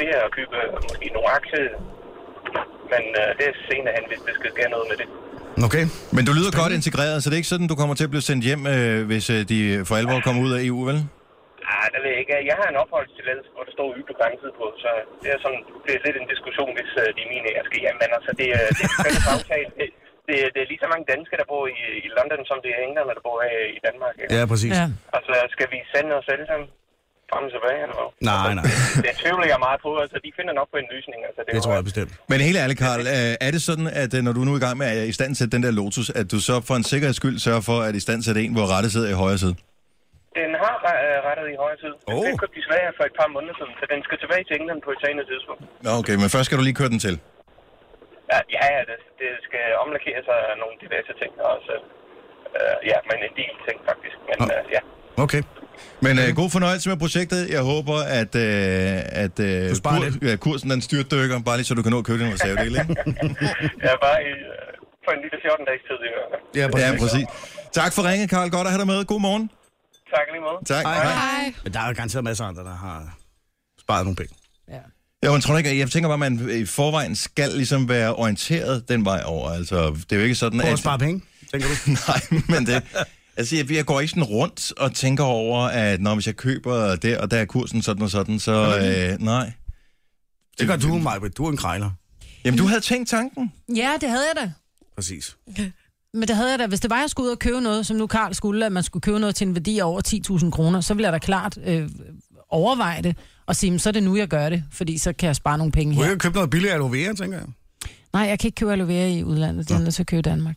Speaker 8: det er at købe øh, måske nogle aktier, men uh, det er senere hen, hvis det skal ske noget med det.
Speaker 3: Okay.
Speaker 1: Men du lyder godt integreret, så det er ikke sådan, du kommer til at blive sendt hjem, øh, hvis øh, de for alvor kommer ud af EU, vel?
Speaker 8: Nej, Ah, det ved jeg ikke. Jeg har en opholdstilladelse, hvor der står yble grænset på, så det er, sådan, det er lidt en diskussion, hvis øh, de mine jeg skal hjem, men altså, det, er- det er en fælles aftale. Det, det, er- det er lige så mange danskere, der bor i, i London, som det er englænder, der bor her i Danmark. Ikke?
Speaker 3: Ja, præcis.
Speaker 4: Ja.
Speaker 3: Ja.
Speaker 8: Altså, skal vi sende os alle sammen frem og tilbage? Eller? hvad?
Speaker 3: Nej, nej.
Speaker 8: Det tvivler jeg meget på. Altså, de finder nok på en løsning. Altså,
Speaker 3: Det
Speaker 8: var-
Speaker 3: tror jeg bestemt.
Speaker 1: Men helt ærligt, Karl, øh, er det sådan, at øh, når du nu er i gang med at i stand sætte den der Lotus, at du så for en sikkerheds skyld sørger for, at i stand sætte en, hvor rette sidder i højre side?
Speaker 8: Den har re- øh, rettet i højre tid.
Speaker 3: Åh.
Speaker 8: Oh. Den købte de Sverige for et par måneder siden, så den skal tilbage til England på et senere tidspunkt.
Speaker 1: Nå, okay, men først skal du lige køre den til.
Speaker 8: Ja, ja ja, det, det skal omlakere sig nogle diverse ting også. Uh, ja, men en del ting faktisk. Men uh, ja,
Speaker 3: Okay.
Speaker 1: Men øh, god fornøjelse med projektet. Jeg håber, at, øh, at øh,
Speaker 3: Du sparer lidt.
Speaker 1: ja, kursen den styrtdykker, bare lige så du kan nå at købe din reservedel, ikke?
Speaker 8: jeg er bare i, uh, for en lille 14-dages tid i hvert fald.
Speaker 3: Ja,
Speaker 1: ja,
Speaker 3: præcis.
Speaker 1: præcis. Tak for ringet, Karl. Godt at have dig med. God morgen.
Speaker 8: Tak i lige måde.
Speaker 1: Tak. Hej.
Speaker 5: Hej.
Speaker 3: Men der er jo garanteret masser af andre, der har sparet nogle penge.
Speaker 1: Jo, jeg tror ikke, jeg tænker bare, at man i forvejen skal ligesom være orienteret den vej over. Altså, det er jo ikke sådan,
Speaker 3: Prøv
Speaker 1: at...
Speaker 3: at spare penge, tænker du?
Speaker 1: Nej, men det... Altså, jeg, jeg går ikke sådan rundt og tænker over, at når hvis jeg køber der, og der er kursen sådan og sådan, så... Øh, nej.
Speaker 3: Det gør du, Majbrit. Du er en krejler.
Speaker 1: Jamen, du havde tænkt tanken.
Speaker 4: ja, det havde jeg da.
Speaker 3: Præcis.
Speaker 4: Men det havde jeg da. Hvis det var, jeg skulle ud og købe noget, som nu Karl skulle, at man skulle købe noget til en værdi af over 10.000 kroner, så ville jeg da klart øh, overveje det og sige, "Men så er det nu, jeg gør det, fordi så kan jeg spare nogle penge
Speaker 3: Du
Speaker 4: her.
Speaker 3: kan købe noget billigt aloe vera, tænker jeg.
Speaker 4: Nej, jeg kan ikke købe aloe vera i udlandet. Det er jeg nødt til at købe i Danmark.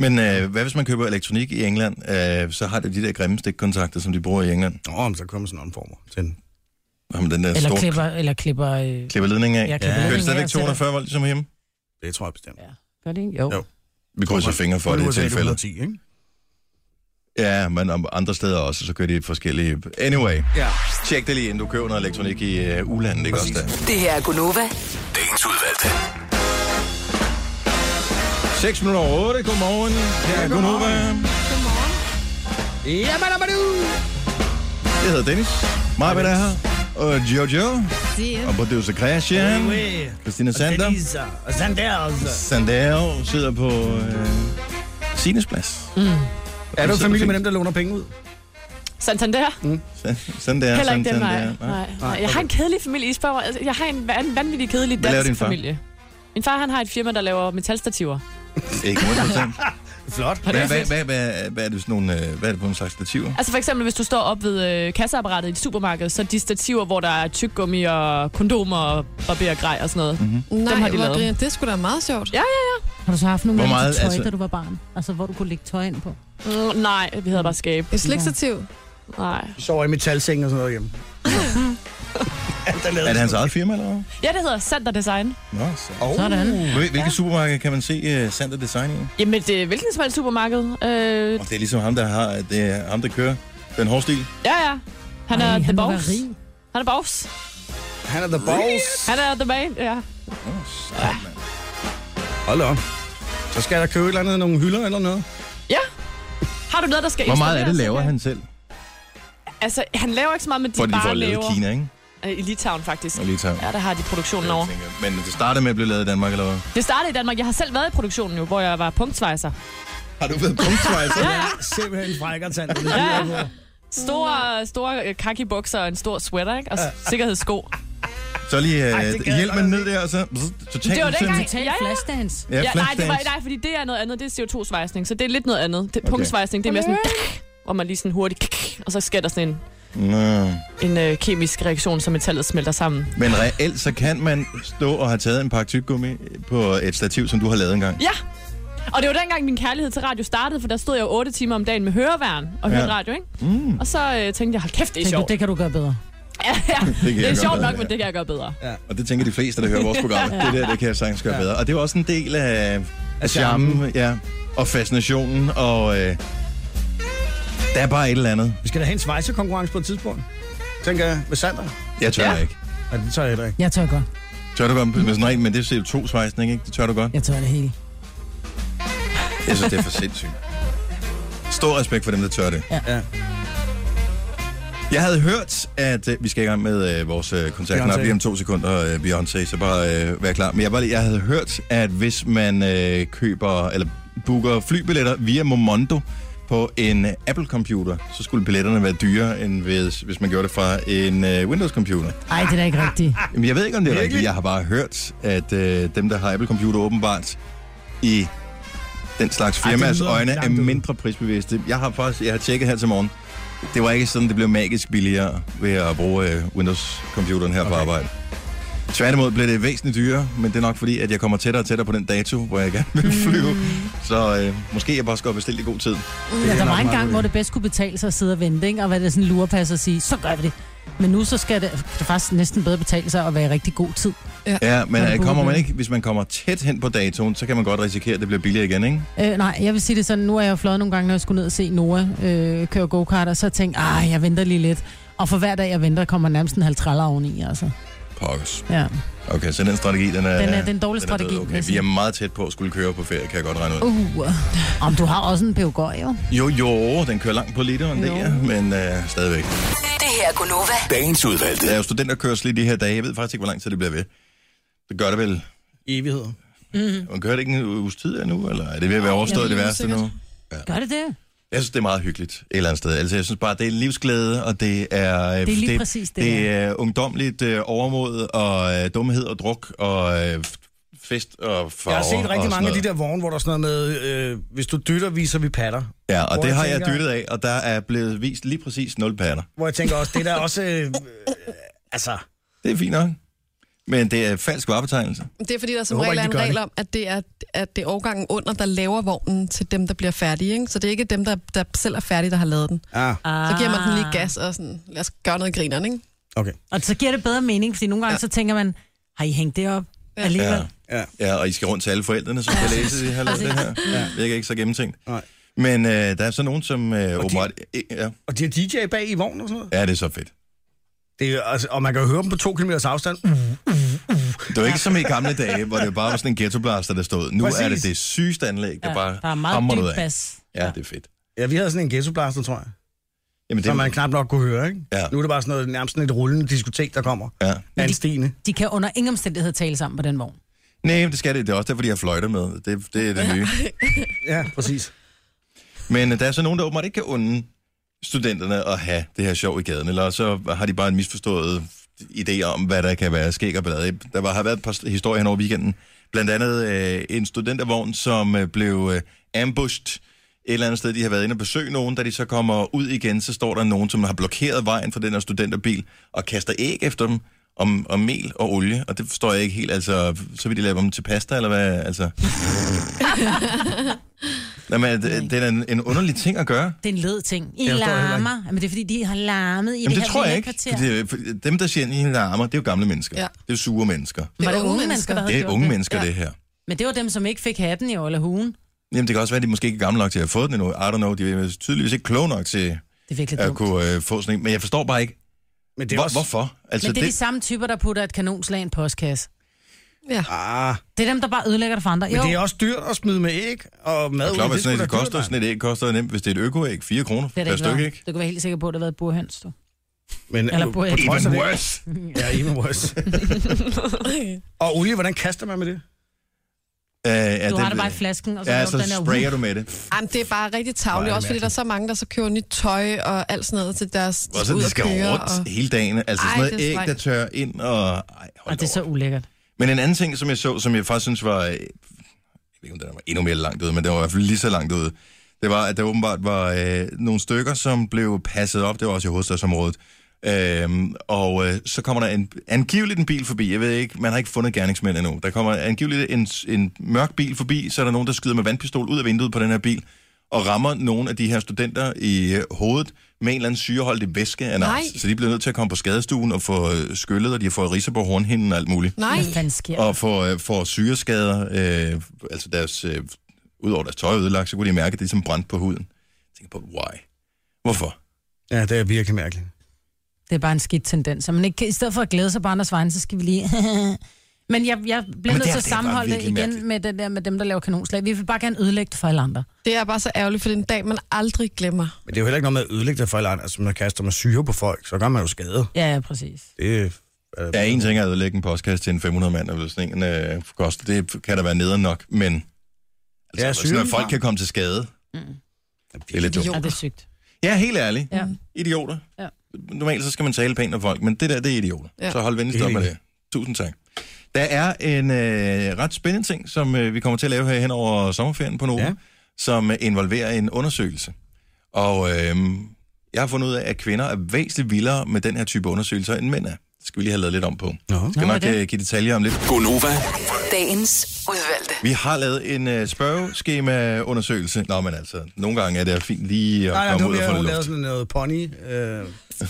Speaker 1: Men øh, hvad hvis man køber elektronik i England, øh, så har det de der grimme stikkontakter, som de bruger i England.
Speaker 3: Nå, men så kommer sådan en form til den.
Speaker 1: Jamen, den der
Speaker 4: Eller
Speaker 1: store
Speaker 4: klipper, eller klipper... Øh,
Speaker 1: klipper ledning af.
Speaker 4: Ja,
Speaker 1: Ja,
Speaker 4: klipper ledning
Speaker 1: Kører det
Speaker 4: af
Speaker 1: stadigvæk
Speaker 4: og sætter-
Speaker 1: 240 volt ligesom hjemme?
Speaker 3: Det tror jeg bestemt.
Speaker 4: ja. Gør det ikke? Jo.
Speaker 3: Jo.
Speaker 4: jo.
Speaker 1: Vi krydser fingre for det i
Speaker 3: USA er
Speaker 1: tilfældet.
Speaker 3: 110, ikke?
Speaker 1: Ja, men om andre steder også, så kører de forskellige... Anyway,
Speaker 3: Ja.
Speaker 1: tjek det lige, inden du køber noget elektronik i øh, ulandet, ikke også der?
Speaker 6: Det her er Gunova.
Speaker 7: Dagens udvalgte.
Speaker 1: 6 minutter over 8, godmorgen. Her er Gunova. Jeg hedder Dennis. Maja er her. Og Jojo. Og producer Christian. Christina Sander.
Speaker 3: Og Sander også.
Speaker 1: Sandero sidder på øh, Sines plads.
Speaker 3: Er du i familie med dem, der låner penge ud?
Speaker 2: Santander?
Speaker 1: Sandero,
Speaker 2: Heller ikke den, nej.
Speaker 1: Santander.
Speaker 2: nej. nej. Jeg har en kedelig familie, I spørger mig. Altså, Jeg har en van- vanvittig kedelig
Speaker 1: Hvad laver din
Speaker 2: dansk
Speaker 1: far?
Speaker 2: familie. Min far han har et firma, der laver metalstativer.
Speaker 1: Ikke 100%.
Speaker 3: Flot.
Speaker 1: Hvad, hvad, hvad, hvad, hvad er det sådan nogle, øh, hvad er det på en slags stativer?
Speaker 2: Altså for eksempel, hvis du står op ved øh, kasseapparatet i et supermarked, så de stativer, hvor der er tyggegummi og kondomer og barbergrej og sådan noget.
Speaker 1: Mhm.
Speaker 2: Mm-hmm.
Speaker 5: Nej,
Speaker 2: har de
Speaker 5: hvor
Speaker 2: lavet.
Speaker 5: griner. det skulle da meget sjovt.
Speaker 2: Ja, ja, ja.
Speaker 4: Har du så haft nogle
Speaker 1: Hvor
Speaker 4: hvor
Speaker 1: meget,
Speaker 4: meget, tøj,
Speaker 1: altså-
Speaker 4: da du var barn? Altså, hvor du kunne lægge tøj ind på?
Speaker 2: Mm, nej, vi havde bare skab.
Speaker 5: Et slikstativ.
Speaker 2: Nej.
Speaker 3: De sover i metalseng og sådan noget hjemme. Alt er lavet.
Speaker 1: Er det hans eget firma, eller hvad?
Speaker 2: Ja, det hedder Sander Design.
Speaker 1: Nå, så.
Speaker 3: Oh.
Speaker 4: Sådan.
Speaker 1: Hvil- Hvilke supermarked kan man se uh, Sander Design i?
Speaker 2: Jamen, det er hvilken som helst supermarked. Øh,
Speaker 1: Og det er ligesom ham, der har, det er ham, der kører den hårde stil.
Speaker 2: ja, ja. Han er
Speaker 4: Ej,
Speaker 2: Ej, the
Speaker 4: han må være
Speaker 2: boss.
Speaker 4: rig.
Speaker 2: Han er boss.
Speaker 3: Han er the boss.
Speaker 2: Han er the man, ja.
Speaker 1: Oh, sejt, mand.
Speaker 3: Hold op. Så skal der købe et eller andet, nogle hylder eller noget.
Speaker 2: Ja. Har du noget, der skal
Speaker 1: Hvor meget af det
Speaker 2: installeres,
Speaker 1: laver
Speaker 2: okay?
Speaker 1: han selv?
Speaker 2: Altså, han laver ikke så meget, men de
Speaker 1: For de
Speaker 2: bare
Speaker 1: får lavet
Speaker 2: laver
Speaker 1: i Kina, ikke?
Speaker 2: øh, i Litauen, faktisk.
Speaker 1: Og lige tager.
Speaker 2: Ja, der har de produktionen over.
Speaker 1: Men det startede med at blive lavet i Danmark, eller hvad?
Speaker 2: Det startede i Danmark. Jeg har selv været i produktionen jo, hvor jeg var punktsvejser.
Speaker 1: Har du været punktsvejser?
Speaker 2: Ja, ja.
Speaker 3: Simpelthen frækker tand.
Speaker 2: Ja, ja. Store, store kakibukser og en stor sweater, ikke? Og s- sikkerhedssko.
Speaker 1: så lige uh,
Speaker 3: Ej, det gad jeg
Speaker 1: hjælp mig
Speaker 3: godt
Speaker 1: ned der, og så bzz, totalt...
Speaker 2: Det var dengang.
Speaker 1: udsendelse.
Speaker 4: Tag
Speaker 2: Ja, ja.
Speaker 4: flashdance.
Speaker 1: Ja,
Speaker 2: Ja, nej, det var,
Speaker 1: flashdance.
Speaker 2: nej, fordi det er noget andet. Det er CO2-svejsning, så det er lidt noget andet. Det,
Speaker 1: Okay.
Speaker 2: okay. Punktsvejsning, det er mere sådan... Og man lige sådan hurtigt... Og så sker der sådan en,
Speaker 1: Nå.
Speaker 2: en øh, kemisk reaktion, så metallet smelter sammen.
Speaker 1: Men reelt, så kan man stå og have taget en pakke tyggegummi på et stativ, som du har lavet engang.
Speaker 2: Ja, Og det var dengang, min kærlighed til radio startede, for der stod jeg jo 8 timer om dagen med høreværn og hørte
Speaker 1: Ja.
Speaker 2: radio, ikke? Mm. Og så øh, tænkte jeg, hold kæft, det er
Speaker 4: Tænker,
Speaker 2: sjovt.
Speaker 4: du, det kan du gøre bedre.
Speaker 2: ja, ja.
Speaker 1: kan
Speaker 2: Det
Speaker 1: jeg
Speaker 2: er
Speaker 1: godt
Speaker 2: sjovt
Speaker 1: bedre,
Speaker 2: nok, men
Speaker 1: ja.
Speaker 2: det kan jeg gøre bedre.
Speaker 1: Og det tænker de fleste, der hører vores program. Det der, det kan jeg sagtens gøre bedre. Og det er jo også en del af, af charmen, ja. Og fascinationen, og øh, der er bare et eller andet.
Speaker 3: Vi skal da have en svejsekonkurrence på et tidspunkt. Tænker jeg, med Sander.
Speaker 1: Jeg tør ja.
Speaker 2: Ja.
Speaker 1: ikke.
Speaker 3: Ja, det tager jeg heller ikke.
Speaker 4: Jeg tør godt.
Speaker 1: Tør du godt med sådan en, men det er CO2-svejsning, ikke? Det tør du godt.
Speaker 4: Jeg tør det hele.
Speaker 1: Jeg synes, det er for sindssygt. Stor respekt for dem, der tør det.
Speaker 4: Ja.
Speaker 3: Ja.
Speaker 1: Jeg havde hørt, at øh, vi skal i gang med øh, vores øh, koncert
Speaker 3: Beyoncé.
Speaker 1: Nå, lige om to sekunder, øh, Beyoncé, så bare øh, vær klar. Men jeg, bare, lige- jeg havde hørt, at hvis man øh, køber eller booker flybilletter via Momondo på en Apple-computer, så skulle billetterne være dyrere, end hvis, hvis man gjorde det fra en øh, Windows-computer.
Speaker 4: Ej, det er da ikke rigtigt.
Speaker 1: Jamen, jeg ved ikke, om det er
Speaker 3: Virkelig?
Speaker 1: rigtigt. Jeg har bare hørt, at øh, dem, der har Apple-computer åbenbart i den slags
Speaker 3: Ej, det
Speaker 1: firmas
Speaker 3: lyder
Speaker 1: øjne, er
Speaker 3: langt ud.
Speaker 1: mindre prisbevidste. Jeg har faktisk jeg har tjekket her til morgen. Det var ikke sådan, det blev magisk billigere ved at bruge øh, Windows-computeren her okay. på
Speaker 3: Okay.
Speaker 1: arbejde. Tværtimod blev det væsentligt dyrere, men det er nok fordi, at jeg kommer tættere og tættere på den dato, hvor jeg gerne
Speaker 3: Mm.
Speaker 1: vil flyve. Så øh, måske jeg bare skal bestille i god tid.
Speaker 4: Ja,
Speaker 3: nok
Speaker 4: der var en
Speaker 3: meget
Speaker 4: gang,
Speaker 3: ud.
Speaker 4: hvor det bedst kunne betale sig at sidde og vente, ikke? og hvad det sådan lurepas at sige, så gør vi det. Men nu så skal det, kan det faktisk næsten bedre betale sig at være i rigtig god tid.
Speaker 1: Ja, men
Speaker 4: Har du
Speaker 1: øh, kommer man
Speaker 4: booket?
Speaker 1: ikke, hvis man kommer tæt hen på datoen, så kan man godt risikere, at det bliver billigere igen, ikke?
Speaker 4: Øh, nej, jeg vil sige det sådan, nu er jeg jo fløjet nogle gange, når jeg skulle ned og se Nora øh, køre go-kart, og så tænkte ah, jeg venter lige lidt. Og for hver dag, jeg venter, kommer nærmest en halv traller oveni, altså.
Speaker 1: Pokkes.
Speaker 4: Ja.
Speaker 1: Okay, så den strategi, den er...
Speaker 4: Den er den dårlige
Speaker 1: Den er død,
Speaker 4: strategi.
Speaker 1: Okay. Vi er meget tæt på at skulle køre på ferie, kan jeg godt regne ud.
Speaker 4: Uh. Om du har også en pevgøj, jo.
Speaker 1: Jo, jo, den kører langt på literen, det
Speaker 4: Jo.
Speaker 1: er, men øh, stadigvæk.
Speaker 6: Det her er Gunova.
Speaker 7: Dagens udvalgte.
Speaker 1: Der er jo studenterkørsel i de her dage. Jeg ved faktisk ikke, hvor lang tid det bliver ved. Det gør det vel.
Speaker 3: Evigheder.
Speaker 1: Man kører det ikke en uges tid endnu, eller er det ved at være overstået
Speaker 5: det
Speaker 1: det
Speaker 5: er
Speaker 1: værste
Speaker 5: usikkert.
Speaker 1: nu?
Speaker 4: Gør det det?
Speaker 1: Jeg synes, det er meget hyggeligt et eller andet sted. Altså, jeg synes bare, det er livsglæde, og det er... øh,
Speaker 4: Det er lige præcis det,
Speaker 1: Det
Speaker 4: ja.
Speaker 1: er ungdomligt øh, overmod, og øh, dumhed og druk, og øh, f- fest og farver.
Speaker 3: Jeg har set
Speaker 1: og
Speaker 3: rigtig
Speaker 1: sådan
Speaker 3: mange af de
Speaker 1: noget.
Speaker 3: der vogne, hvor der er sådan noget med, øh, hvis du dytter, viser vi patter.
Speaker 1: Ja, og
Speaker 3: hvor
Speaker 1: det
Speaker 3: jeg
Speaker 1: har jeg
Speaker 3: tænker-
Speaker 1: dyttet af, og der er blevet vist lige præcis nul patter.
Speaker 3: Hvor jeg tænker også, det der også... Øh, øh, altså,
Speaker 1: Det er fint nok. Men det er falsk varebetegnelse.
Speaker 5: Det er fordi, der som
Speaker 3: Jeg håber
Speaker 5: regel er
Speaker 3: ikke,
Speaker 5: en
Speaker 3: de gør
Speaker 5: regel
Speaker 3: det.
Speaker 5: om, at det er, at det er årgangen under, der laver vognen til dem, der bliver færdige. Ikke? Så det er ikke dem, der, der selv er færdige, der har lavet den.
Speaker 3: ah,
Speaker 5: Så giver man den lige gas og sådan, lad os gøre noget grineren, ikke?
Speaker 3: okay.
Speaker 4: Og så giver det bedre mening, fordi nogle gange ja. så tænker man, har I hængt det op ja. alligevel?
Speaker 1: Ja.
Speaker 3: Ja.
Speaker 1: Ja, og I skal rundt til alle forældrene, som skal læse, at I har lavet det her. Ja. Virker ikke så gennemtænkt.
Speaker 3: Nej.
Speaker 1: Men øh, der er så nogen, som øh, åbenbart... De... Ja.
Speaker 3: Og de har DJ bag i vognen og sådan noget.
Speaker 1: ja, det er så fedt.
Speaker 3: Det er, altså, og man kan jo høre dem på to kilometers afstand. Uh,
Speaker 1: Det var ikke som i gamle dage, hvor det bare var sådan en ghettoblaster, der stod. Nu Præcis. er det
Speaker 3: Præcis.
Speaker 1: det sygeste anlæg, der ja, bare
Speaker 4: der er
Speaker 1: hamrer
Speaker 4: meget
Speaker 1: noget
Speaker 4: dyb
Speaker 1: af.
Speaker 4: bas.
Speaker 1: Ja, det er fedt.
Speaker 3: Ja, vi havde sådan en ghettoblaster, tror jeg.
Speaker 1: Jamen, det
Speaker 3: Som
Speaker 1: er...
Speaker 3: man knap nok kunne høre, ikke?
Speaker 1: Ja.
Speaker 3: Nu er det bare sådan noget, nærmest sådan et rullende diskotek, der kommer.
Speaker 1: Ja.
Speaker 3: Ja. Anstine.
Speaker 4: De kan under ingen omstændighed tale sammen på den vogn.
Speaker 1: Nej, men det skal det. Det er også derfor, de har fløjter med. Det, det er det nye.
Speaker 3: Ja, præcis.
Speaker 1: Men øh, der er så nogen, der åbenbart ikke kan unde studenterne at have det her sjov i gaden, eller så har de bare en misforstået idé om, hvad der kan være skæg og ballade. Der var, har været et par historier hen over weekenden. Blandt andet øh, en studentervogn, som øh, blev øh, ambushed et eller andet sted. De har været inde og besøge nogen. Da de så kommer ud igen, så står der nogen, som har blokeret vejen for den her studenterbil og kaster æg efter dem om, om mel og olie. Og det forstår jeg ikke helt. Altså, så vil de lave dem til pasta, eller hvad? Altså... Nå, men, øh, det, det er da en, en underlig ting at gøre.
Speaker 4: Det er en led ting. I
Speaker 3: Jeg forstår det heller
Speaker 4: larmer. Jamen, det er fordi, de har larmet i
Speaker 1: Jamen,
Speaker 4: det,
Speaker 1: det
Speaker 4: her
Speaker 1: tror jeg
Speaker 4: lille
Speaker 1: ikke.
Speaker 4: kvarter.
Speaker 1: Fordi, øh, for- dem, der siger, at I larmer, det er jo gamle mennesker.
Speaker 5: Ja.
Speaker 1: Det er sure mennesker.
Speaker 4: Var det unge mennesker, der havde
Speaker 1: Det er
Speaker 4: gjort
Speaker 1: unge mennesker,
Speaker 4: Ja.
Speaker 1: det her.
Speaker 4: Men det var dem, som ikke fik hatten i eller hugen.
Speaker 1: Jamen, det kan også være, at de måske ikke er gamle nok til at have fået den endnu. I don't know. De er tydeligvis ikke kloge nok til
Speaker 4: Det er virkelig
Speaker 1: at
Speaker 4: dumt. Men
Speaker 1: kunne øh, få sådan en. Men jeg forstår bare ikke,
Speaker 3: Men det er
Speaker 1: hvor,
Speaker 3: også...
Speaker 1: hvorfor. Altså,
Speaker 4: det er de samme typer, der putter et kanonslag i en postkasse.
Speaker 5: Ja.
Speaker 3: Ah,
Speaker 4: Det er dem, der bare ødelægger det for andre.
Speaker 3: men
Speaker 4: Jo,
Speaker 3: det er også dyrt at smide med æg og mad.
Speaker 1: Og
Speaker 3: ud.
Speaker 1: klart, hvad
Speaker 3: Det
Speaker 1: sådan
Speaker 3: skulle
Speaker 1: et
Speaker 3: da
Speaker 1: koster.
Speaker 3: dyrt,
Speaker 1: Sådan et æg koster nemt, hvis det er et økoæg, 4 kroner
Speaker 4: det
Speaker 1: per
Speaker 4: ikke
Speaker 1: stykke,
Speaker 4: været.
Speaker 1: ikke? Øh,
Speaker 4: Du kan være helt sikker på, at det har været et burhøns, du.
Speaker 3: Men
Speaker 4: Eller
Speaker 3: øh,
Speaker 4: burhøns.
Speaker 3: trods af det-
Speaker 1: worse!
Speaker 3: Ja, even worse. og olie, hvordan kaster man med det?
Speaker 1: Uh, ja,
Speaker 4: Du har det bare i flasken, og så
Speaker 1: Ja,
Speaker 4: laver du
Speaker 1: så
Speaker 4: den her-
Speaker 1: sprayer du med det.
Speaker 5: Jamen, det er bare rigtig
Speaker 3: Hvor er
Speaker 5: tavligt,
Speaker 3: det
Speaker 5: også fordi der er så mange, der så køber nyt tøj og alt sådan noget til deres
Speaker 1: Og så de skal rundt
Speaker 5: og...
Speaker 1: hele dagen. Altså
Speaker 5: Ej,
Speaker 1: sådan noget
Speaker 5: det er
Speaker 1: æg,
Speaker 5: strengt.
Speaker 1: der tørrer ind, og... Ej, hold
Speaker 4: Og det er
Speaker 1: da
Speaker 4: så ulækkert.
Speaker 1: Men en anden ting, som jeg så, som jeg faktisk synes var... øh, Jeg ved ikke, om den var endnu mere langt ude, men den var i hvert fald lige så langt ude. Det var, at der åbenbart var øh, nogle stykker, som blev passet op. Det var også i hovedstadsområdet. Øhm, og øh, så kommer der en, angiveligt en bil forbi. Jeg ved ikke, man har ikke fundet gerningsmænd endnu. Der kommer angiveligt en, en mørk bil forbi, så er der nogen, der skyder med vandpistol ud af vinduet på den her bil, og rammer nogle af de her studenter i øh, hovedet med en eller anden syreholdig væske af en
Speaker 5: Nej.
Speaker 1: art. Så de bliver nødt til at komme på skadestuen og få øh, skyllet, og de har fået ridser på hornhinden og alt muligt.
Speaker 5: Nej.
Speaker 4: Hvad fanden sker?
Speaker 1: Og får, øh, får syreskader, øh, altså deres, øh, udover deres tøj er ødelagt, så kunne de mærke, at det er som brændt på huden. Jeg tænker på, why? Hvorfor?
Speaker 3: Ja, det er virkelig mærkeligt.
Speaker 4: Det er bare en skidt tendens. Så man ikke, kan- I stedet for at glæde sig på andres vegne, så skal vi lige... Men jeg, jeg
Speaker 1: det
Speaker 4: bliver
Speaker 1: er-
Speaker 4: nødt til at
Speaker 1: det er bare
Speaker 4: sammenholde det
Speaker 1: virkelig
Speaker 4: igen
Speaker 1: mærkeligt.
Speaker 4: med, det der, med dem, der laver kanonslag. Vi vil bare gerne ødelægge det for alle andre.
Speaker 5: Det er bare så ærgerligt, for det er en dag, man aldrig glemmer.
Speaker 3: Men det er jo heller ikke noget med at ødelægge det for alle andre. Altså, man kaster med syre på folk, så gør man jo skade.
Speaker 4: Ja, ja, præcis.
Speaker 3: Det er... er-
Speaker 1: Ja, en ting er at ødelægge en postkasse til en 500 mand, eller sådan en øh, koster. Det kan da være nederen nok, men... Altså,
Speaker 3: Ja,
Speaker 1: ja, sådan,
Speaker 3: sygen
Speaker 1: at folk
Speaker 3: fra-
Speaker 1: kan komme til skade. Det er lidt dumt.
Speaker 4: Ja, det er sygt.
Speaker 1: Ja, helt ærligt.
Speaker 4: Ja.
Speaker 5: Mm.
Speaker 1: Idioter.
Speaker 4: Ja.
Speaker 1: Normalt så skal man tale pænt om folk, men det der, det er idioter. Ja.
Speaker 5: Ja.
Speaker 1: Så hold venligst
Speaker 3: Helt
Speaker 1: op med
Speaker 3: enig.
Speaker 1: det. Tusind tak. Der er en øh, ret spændende ting, som øh, vi kommer til at lave her hen over sommerferien på Nova, ja.
Speaker 3: Ja.
Speaker 1: som øh, involverer en undersøgelse. Og øh, jeg har fundet ud af, at kvinder er væsentligt vildere med den her type undersøgelser, end mænd er. Det skal vi lige have lavet lidt om på.
Speaker 3: Nå.
Speaker 1: Skal nok øh, give detaljer om lidt.
Speaker 7: Gonova,
Speaker 6: Dagens udvalgte.
Speaker 1: Vi har lavet en øh, spørgeskemaundersøgelse. Nå, men altså, nogle gange er det fint lige at
Speaker 3: Nej, nej, det
Speaker 1: komme ud og
Speaker 3: var mere,
Speaker 1: få
Speaker 3: hun
Speaker 1: lidt
Speaker 3: lavede
Speaker 1: luft.
Speaker 3: sådan noget pony. Øh, et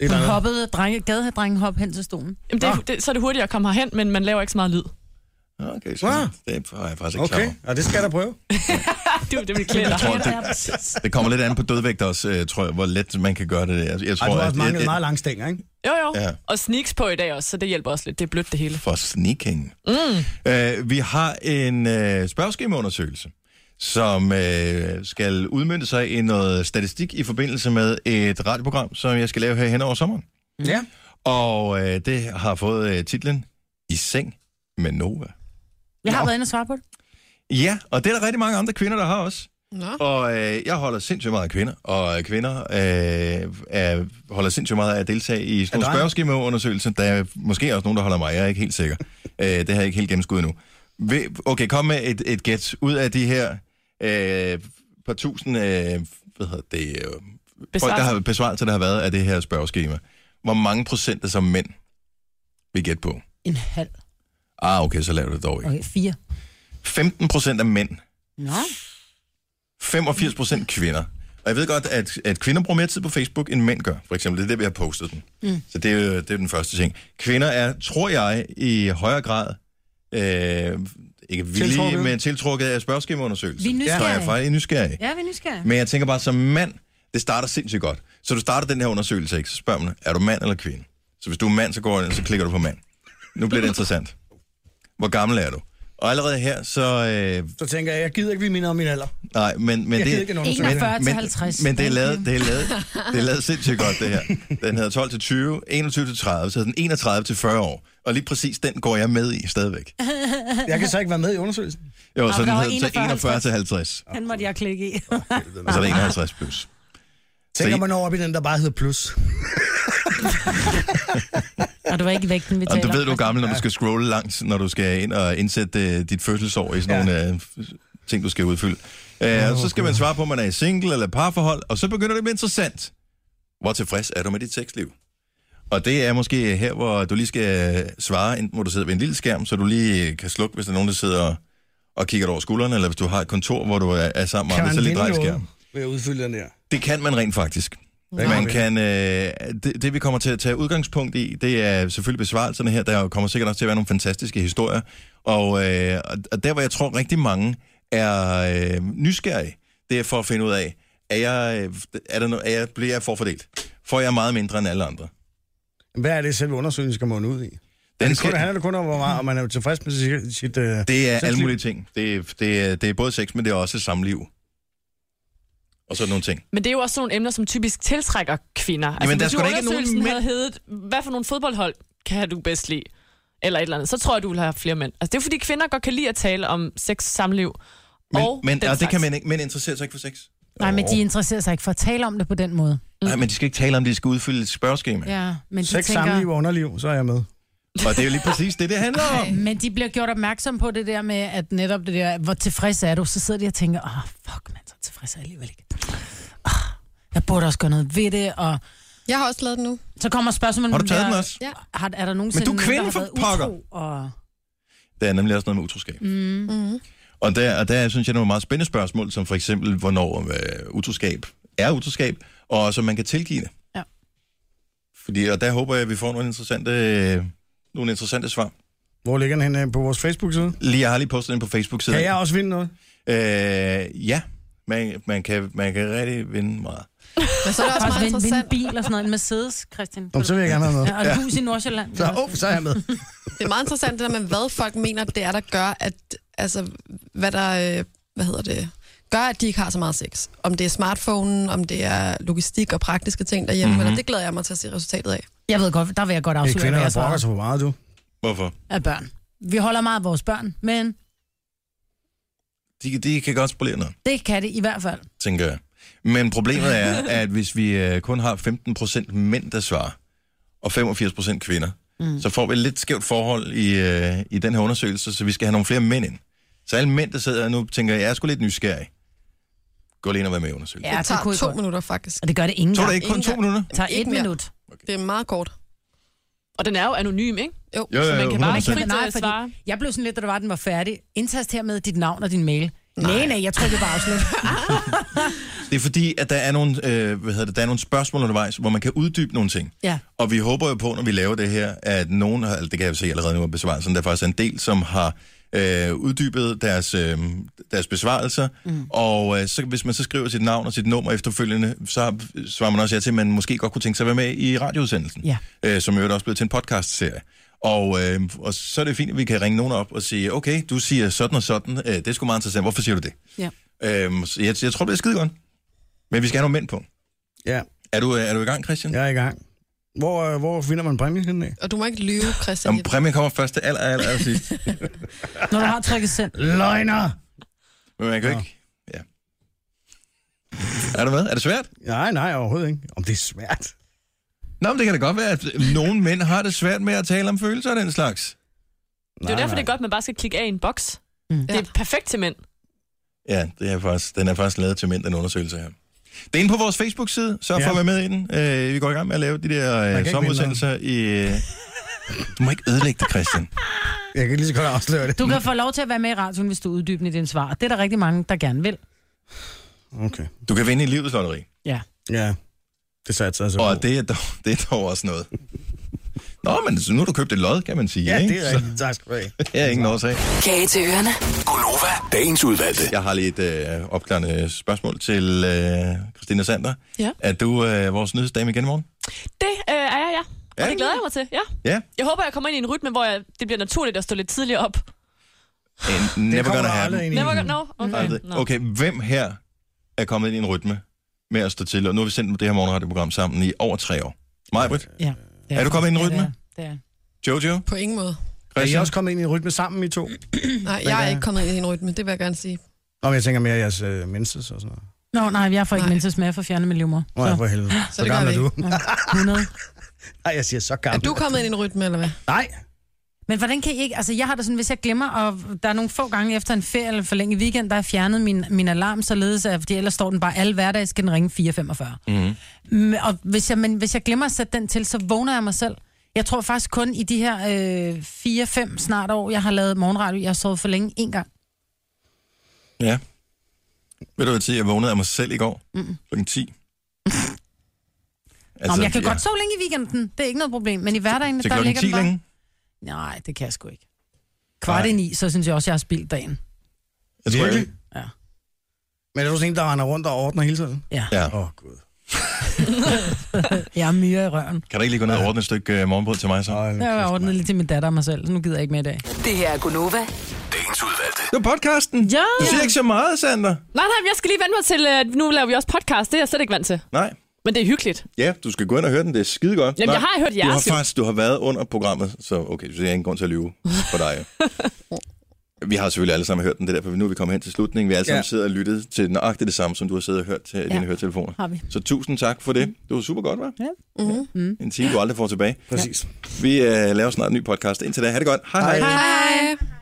Speaker 4: Hun
Speaker 3: eller andet.
Speaker 4: hoppede, drenge, gadedrengen hop hen til stolen.
Speaker 2: Jamen, det, er- det, så er det hurtigt at komme herhen, men man laver ikke så meget lyd.
Speaker 1: Okay, så det er jeg faktisk ikke okay. klar
Speaker 3: Okay,
Speaker 1: over.
Speaker 3: og det skal jeg da prøve.
Speaker 2: Det er jo det, vi klæder
Speaker 1: Jeg tror,
Speaker 2: dig.
Speaker 1: det, det kommer lidt an på dødvægt også, øh, tror jeg, hvor let man kan gøre det. der. Jeg, jeg tror,
Speaker 3: Ej, du har
Speaker 1: at-
Speaker 3: også manglet
Speaker 1: jeg-
Speaker 3: meget lange stænger, ikke?
Speaker 2: Jo, jo.
Speaker 1: Ja.
Speaker 2: Ja. Og sneaks på i dag også, så det hjælper også lidt. Det er blødt det hele.
Speaker 1: for sneaking. Mm. Øh, vi har en øh, spørgeskemaundersøgelse, som øh, skal udmynde sig i noget statistik i forbindelse med et radioprogram, som jeg skal lave her hen over sommeren.
Speaker 3: Ja.
Speaker 1: Og øh, det har fået øh, titlen I seng med Nova.
Speaker 4: Jeg har
Speaker 3: Nå.
Speaker 4: været inde og svare på det.
Speaker 1: Ja, og det er der rigtig mange andre kvinder, der har også.
Speaker 5: Nå.
Speaker 1: Og øh, jeg holder sindssygt meget af kvinder, og øh, kvinder øh, er, holder sindssygt meget af at deltage i sådan
Speaker 3: Er
Speaker 1: nogle
Speaker 3: der-
Speaker 1: spørgeskemaundersøgelser. Der er måske også nogen, der holder mig, jeg er ikke helt sikker. øh, det har jeg ikke helt gennemskuddet nu. Okay, kom med et, et gæt ud af de her øh, par tusind, øh, hvad hedder det, øh, folk, der har besvaret til, der har været af det her spørgeskema. Hvor mange procent er som mænd, vi gætte på?
Speaker 4: En halv.
Speaker 1: Ah, okay, så laver du det dog ikke.
Speaker 4: Okay, fire.
Speaker 1: 15 procent af mænd
Speaker 4: Nå.
Speaker 1: 85 procent kvinder. Og jeg ved godt, at, at kvinder bruger mere tid på Facebook, end mænd gør. For eksempel, det er det, vi har postet den. Mm. Så det er, jo- det er den første ting. Kvinder er, tror jeg, i højere grad øh, ikke villige, tiltrukket.
Speaker 3: Tiltrukket.
Speaker 1: men tiltrukket af spørgeskemaundersøgelser.
Speaker 4: Vi er nysgerrige.
Speaker 1: Så jeg faktisk nysgerrig.
Speaker 4: Ja, vi er nysgerrige.
Speaker 1: Men jeg tænker bare, som mand, det starter sindssygt godt. Så du starter den her undersøgelse, ikke? så spørger man, er du mand eller kvinde? Så hvis du er mand, så går jeg ind, så klikker du på mand. Nu bliver det interessant. Hvor gammel er du? Og allerede her, så... Øh,
Speaker 3: Så tænker jeg, jeg gider ikke blive mindet om min alder.
Speaker 1: nej, men, men
Speaker 3: Jeg gider
Speaker 1: det,
Speaker 3: ikke en undersøgelse.
Speaker 4: 41 til 50.
Speaker 1: Men det er, lavet, det, er lavet, det er lavet sindssygt godt, det her. Den hedder 12 til 20, 21 til 30, så den 31 til 40 år. Og lige præcis den går jeg med i stadigvæk.
Speaker 3: Jeg kan så ikke være med i undersøgelsen.
Speaker 1: Jo, så
Speaker 4: der
Speaker 1: den
Speaker 4: var
Speaker 1: hedder så
Speaker 4: 41
Speaker 1: 41 til 50,
Speaker 4: Den måtte jeg klikke i.
Speaker 1: og så er det 51 plus.
Speaker 3: Tænker
Speaker 1: I-
Speaker 3: man over op i den, der bare hedder plus.
Speaker 4: Og du var ikke i vægten, vi
Speaker 1: Og
Speaker 4: taler
Speaker 1: du ved, du er
Speaker 4: om.
Speaker 1: gammel, når du skal scrolle langt, når du skal ind og indsætte øh, dit fødselsår i sådan nogle øh, f- ting, du skal udfylde. Øh, og så skal man svare på, om man er i single eller parforhold, og så begynder det at blive interessant. Hvor tilfreds er du med dit sexliv? Og det er måske her, hvor du lige skal øh, svare, enten hvor du sidder ved en lille skærm, så du lige øh, kan slukke, hvis der er nogen, der sidder og kigger dig over skuldrene, eller hvis du har et kontor, hvor du er, er sammen med
Speaker 3: Kan
Speaker 1: andre,
Speaker 3: man
Speaker 1: så lige
Speaker 3: vinde
Speaker 1: drej
Speaker 3: noget
Speaker 1: skærmen.
Speaker 3: ved at udfylde den der?
Speaker 1: Det kan man rent faktisk. Man kan, øh, det, det vi kommer til at tage udgangspunkt i, det er selvfølgelig besvarelserne her. Der kommer sikkert også til at være nogle fantastiske historier. Og, øh, og- og der, hvor jeg tror rigtig mange er øh, nysgerrige, det er for at finde ud af, er jeg, øh, er der no, er jeg, bliver jeg forfordelt? Får jeg meget mindre end alle andre?
Speaker 3: Hvad er det, selve undersøgelsen skal munde ud i? Den
Speaker 1: Den
Speaker 3: det kun, handler
Speaker 1: skal,
Speaker 3: det kun om, hvor meget, om man er tilfreds med sit... sit øh,
Speaker 1: det er alle
Speaker 3: sexliv?
Speaker 1: mulige ting. Det, er- det, er- det er både sex, men det er også samliv. Og sådan nogle ting.
Speaker 2: Men det er jo også sådan nogle emner, som typisk tiltrækker kvinder. Altså,
Speaker 1: Jamen, der
Speaker 2: hvis
Speaker 1: er
Speaker 2: nu
Speaker 1: sgu da ikke nogen
Speaker 2: undersøgelsen
Speaker 1: mænd-
Speaker 2: havde heddet, hvad for nogle fodboldhold kan du bedst lide? Eller et eller andet. Så tror jeg, du vil have flere mænd. Altså, det er jo fordi, kvinder godt kan lide at tale om sex, samliv
Speaker 1: Men,
Speaker 2: og
Speaker 1: men
Speaker 2: den
Speaker 1: og det
Speaker 2: slags.
Speaker 1: kan man ikke. Mænd interesserer sig ikke for sex.
Speaker 4: Nej, men de interesserer sig ikke for at tale om det på den måde.
Speaker 1: Nej, men de skal ikke tale om, det. de skal udfylde et spørgeskema. Ja.
Speaker 4: Ja, men de
Speaker 3: Sex, samliv
Speaker 4: tænker...
Speaker 3: og underliv, så er jeg med.
Speaker 1: Og det er jo lige præcis det, det handler om.
Speaker 4: Men de bliver gjort opmærksom på det der med, at netop det der, hvor tilfreds er du, så sidder de og tænker, Ah, åh, oh, fuck mand, så tilfreds er jeg alligevel ikke. Oh, jeg burde også gøre noget ved det, og
Speaker 5: Jeg har også lavet den nu.
Speaker 4: Så kommer spørgsmålet...
Speaker 1: Har du taget
Speaker 4: om
Speaker 1: den
Speaker 4: der-
Speaker 1: også?
Speaker 5: Ja.
Speaker 4: Har, er der nogensinde
Speaker 1: Men du er
Speaker 4: nogen, der
Speaker 1: kvinde
Speaker 4: har
Speaker 1: for
Speaker 4: været
Speaker 1: pokker.
Speaker 4: utro, Og...
Speaker 1: Der er nemlig også noget med utroskab. Mm. Og, der, og der synes jeg, nogle meget spændende spørgsmål, som for eksempel, hvornår øh, utroskab er utroskab, og så man kan tilgive det.
Speaker 4: Ja.
Speaker 1: Fordi, og der håber jeg, at vi får nogle interessante, øh, nogle interessante svar.
Speaker 3: Hvor ligger den henne på vores Facebook-side?
Speaker 1: Lige, jeg har lige postet den på Facebook-siden.
Speaker 3: Kan jeg også vinde noget?
Speaker 1: Øh, ja, man, man, kan, man kan rigtig vinde meget.
Speaker 5: Men så er det også
Speaker 4: Også
Speaker 5: meget
Speaker 4: vinde, vinde en
Speaker 5: interessant.
Speaker 4: bil og sådan noget. En Mercedes, Christian.
Speaker 3: Nå, men så vil jeg gerne have noget.
Speaker 4: Ja, og et hus i Nordsjælland.
Speaker 3: Så, oh, så er jeg med.
Speaker 5: Det er meget interessant, det der med, hvad folk mener, det er, der gør, at, altså, hvad der, øh, hvad hedder det, gør, at de ikke har så meget sex. Om det er smartphonen, om det er logistik og praktiske ting derhjemme, mm-hmm. eller det glæder jeg mig til at se resultatet af.
Speaker 4: Jeg ved godt, der vil jeg godt
Speaker 3: Det er
Speaker 4: afsløre,
Speaker 3: kvinder,
Speaker 4: hvad
Speaker 3: der
Speaker 4: jeg
Speaker 3: brokker
Speaker 4: svarer
Speaker 3: sig for meget, du.
Speaker 1: Hvorfor?
Speaker 4: af børn. Vi holder meget af vores børn, men
Speaker 1: De, de kan godt spolere noget,
Speaker 4: det kan det i hvert fald.
Speaker 1: tænker jeg. Men problemet er, at hvis vi øh, kun har 15% mænd, der svarer, og 85% kvinder, mm. så får vi et lidt skævt forhold i, øh, i den her undersøgelse, så vi skal have nogle flere mænd ind. Så alle mænd, der sidder nu, tænker, jeg er sgu lidt nysgerrig. Gå lige ind og vær med i undersøgelsen.
Speaker 4: Ja,
Speaker 5: det tager
Speaker 4: kunne I
Speaker 5: to
Speaker 4: godt.
Speaker 5: minutter faktisk.
Speaker 4: Og det gør det ingen
Speaker 1: Tror du
Speaker 4: gang.
Speaker 1: ikke kun to
Speaker 5: Ingen-
Speaker 1: minutter?
Speaker 4: Det tager et
Speaker 5: Ikke mere.
Speaker 4: minut.
Speaker 5: Det er meget kort.
Speaker 2: Og den er jo anonym, ikke?
Speaker 5: Jo,
Speaker 1: Jo,
Speaker 2: Så
Speaker 1: jo,
Speaker 2: man
Speaker 1: jo,
Speaker 2: kan bare
Speaker 1: 100%.
Speaker 2: ikke frit
Speaker 4: Nej,
Speaker 2: øh,
Speaker 4: fordi-
Speaker 2: svare.
Speaker 4: Jeg blev sådan lidt, da du var, den var færdig. Indtast hermed dit navn og din mail. Nej, nej, jeg tror, det var afslut.
Speaker 1: Det er fordi, at der er nogle, øh, hvad hedder det, der er nogle spørgsmål undervejs, hvor man kan uddybe nogle ting.
Speaker 4: Ja.
Speaker 1: Og vi håber jo på, når vi laver det her, at nogen, har, eller det kan jeg se allerede nu af besvarelsen, der er faktisk en del, som har øh, uddybet deres, øh, deres besvarelser. Mm. Og øh, så, hvis man så skriver sit navn og sit nummer efterfølgende, så svarer man også ja til, at man måske godt kunne tænke sig at være med i radioudsendelsen,
Speaker 4: Ja.
Speaker 1: øh, som jo også blevet til en podcastserie. Og, øh, og så er det fint, at vi kan ringe nogen op og sige, okay, du siger sådan og sådan, øh, det er sgu meget interessant, hvorfor siger du det?
Speaker 4: Ja.
Speaker 1: Øhm, så jeg, jeg tror, det er skide godt. Men vi skal have nogle mænd på.
Speaker 3: Ja,
Speaker 1: Er du, øh, er du i gang, Christian?
Speaker 3: jeg er i gang. Hvor, øh, hvor finder man præmien henne? af?
Speaker 5: og du må ikke lyve, Christian.
Speaker 1: Jamen, præmien kommer først til aller, aller, aller sidst.
Speaker 4: Når du har trykket send.
Speaker 3: Løgner!
Speaker 1: Men man kan jo ikke... Ja. Er du med? Er det svært?
Speaker 3: Nej, nej, overhovedet ikke. Om det er svært.
Speaker 1: Nå, men det kan da godt være, at nogle mænd har det svært med at tale om følelser og den slags.
Speaker 2: Det er jo
Speaker 3: Nej,
Speaker 2: derfor,
Speaker 3: nej.
Speaker 2: det er godt, at man bare skal klikke af i en boks.
Speaker 4: Mm.
Speaker 2: Det er perfekt til mænd.
Speaker 1: Ja, det er faktisk, den er faktisk lavet til mænd, den undersøgelse her. Det er inde på vores Facebook-side, så for
Speaker 3: Ja.
Speaker 1: at være med i den. Øh, vi går i gang med at lave de der øh,
Speaker 3: ikke
Speaker 1: sommerudsendelser i... Øh... Du må ikke ødelægge det, Christian.
Speaker 3: Jeg kan lige så godt afsløre det.
Speaker 4: Du kan få lov til at være med i radioen, hvis du er uddybende i din svar. Det er der rigtig mange, der gerne vil.
Speaker 3: Okay.
Speaker 1: Du kan vinde i livets lotteri.
Speaker 4: Ja.
Speaker 3: Ja, det satte sig altså.
Speaker 1: Og det er, dog, det er dog også noget. Nå, men så nu har du købt et lod, kan man sige.
Speaker 3: Ja,
Speaker 1: ikke?
Speaker 3: det er rigtigt. Tak skal du have.
Speaker 1: Så, jeg er ingen årsag.
Speaker 6: Kage til ørerne.
Speaker 7: Gunova, dagens udvalgte.
Speaker 1: Jeg har lidt øh, opklarende spørgsmål til øh, Christina Sander.
Speaker 2: Ja.
Speaker 1: Er du øh, vores nyhedsdame igen i morgen?
Speaker 2: Det øh, er jeg, ja.
Speaker 1: Ja.
Speaker 2: Og det glæder jeg mig til, ja.
Speaker 1: Ja.
Speaker 2: Jeg håber, jeg kommer ind i en rytme, hvor jeg, det bliver naturligt at stå lidt tidligere op.
Speaker 1: And never gonna happen.
Speaker 2: Never gonna know. Okay.
Speaker 1: Mm. Aldrig.
Speaker 2: Nå.
Speaker 1: Okay, hvem her er kommet ind i en rytme med at stå til? Og nu har vi sendt det her morgenradioprogram sammen i over tre år. Majbrit,
Speaker 4: ja.
Speaker 1: Er du kommet ind i en
Speaker 4: Ja, det
Speaker 1: rytme?
Speaker 4: er- Det er.
Speaker 1: Jojo,
Speaker 5: På ingen måde.
Speaker 3: Er I
Speaker 1: Christian?
Speaker 3: også kommet ind i en rytme sammen, I to?
Speaker 5: Nej, jeg er ikke kommet ind i en rytme, det vil jeg gerne sige.
Speaker 3: Nå, men jeg tænker mere jeres øh, menses og sådan noget.
Speaker 4: Nå, nej, jeg får ikke
Speaker 5: Nej.
Speaker 4: menses med for fjerne min livmor. øh,
Speaker 3: Nå, ja, for helvede. Så,
Speaker 5: det gør
Speaker 3: gammel
Speaker 5: vi
Speaker 3: er du?
Speaker 4: 100.
Speaker 3: Nej, jeg siger så
Speaker 5: Er
Speaker 3: gammel.
Speaker 5: du kommet ind i en rytme, eller hvad?
Speaker 3: Nej,
Speaker 4: Men hvordan kan I ikke... Altså, jeg har det sådan, hvis jeg glemmer, og der er nogle få gange efter en ferie eller forlænget weekend, der har fjernet min, min alarm, således at, fordi ellers står den bare alle hverdag, skal den ringe 4.45.
Speaker 1: Mhm.
Speaker 4: Mm-hmm. Og hvis jeg, men hvis jeg glemmer at sætte den til, så vågner jeg mig selv. Jeg tror faktisk kun i de her øh, 4-5 snart år, jeg har lavet morgenradio, jeg har sovet for længe en gang.
Speaker 1: Ja. Ved du hvad tid, jeg vågnede af mig selv i går? Mm. Klokken 10.
Speaker 4: Altså, Nå, men jeg kan godt sove længe i weekenden, det er ikke noget problem, men i hverdagen,
Speaker 1: til
Speaker 4: der
Speaker 1: klokken
Speaker 4: ligger
Speaker 1: 10
Speaker 4: den bare...
Speaker 1: længe.
Speaker 4: Nej, det kan jeg sgu ikke. Kvart
Speaker 1: Nej.
Speaker 4: i ni, så synes jeg også, jeg har spildt dagen.
Speaker 1: Jeg tror, jeg,
Speaker 3: Virkelig?
Speaker 4: Ja.
Speaker 3: men er du sådan en, der render rundt og ordner hele tiden?
Speaker 4: Ja.
Speaker 1: Ja.
Speaker 3: Åh, oh, gud.
Speaker 4: Jeg er myre i røven.
Speaker 1: kan du ikke lige gå ned og ordne et stykke øh, morgenbrød til mig så?
Speaker 3: Ej,
Speaker 4: Jeg har ordnet lidt til min datter og mig selv, så nu gider jeg ikke med i dag.
Speaker 6: Det her er Gunova.
Speaker 7: Dagens udvalgte.
Speaker 1: Det var podcasten.
Speaker 2: Ja.
Speaker 1: Du siger ikke så meget, Sander.
Speaker 2: Nej, nej, men jeg skal lige vende mig til, at nu laver vi også podcast. Det er jeg slet ikke vant til.
Speaker 1: Nej.
Speaker 2: Men det er hyggeligt.
Speaker 1: Ja, du skal gå ind og høre den. Det er skide godt.
Speaker 2: Jamen, jeg har hørt
Speaker 1: Du har
Speaker 2: jeres, jo.
Speaker 1: faktisk du har været under programmet, så okay, så jeg har ingen grund til at lyve for dig. Vi har selvfølgelig alle sammen hørt den, det er derfor, nu er vi kommet hen til slutningen. Vi har alle sammen
Speaker 3: Ja.
Speaker 1: ja. siddet og lyttet til nøjagtigt det samme, som du har siddet og hørt til ja. dine høretelefoner.
Speaker 4: Har vi.
Speaker 1: Så tusind tak for
Speaker 2: Mm.
Speaker 1: det. Det var super godt, var? Ja.
Speaker 5: Mhm.
Speaker 2: Mm-hmm.
Speaker 1: Mm. En time, du aldrig får tilbage.
Speaker 3: Præcis.
Speaker 1: Vi øh, laver snart en ny podcast. Indtil da, ha' det godt. Hej hej. hej.
Speaker 5: Hej.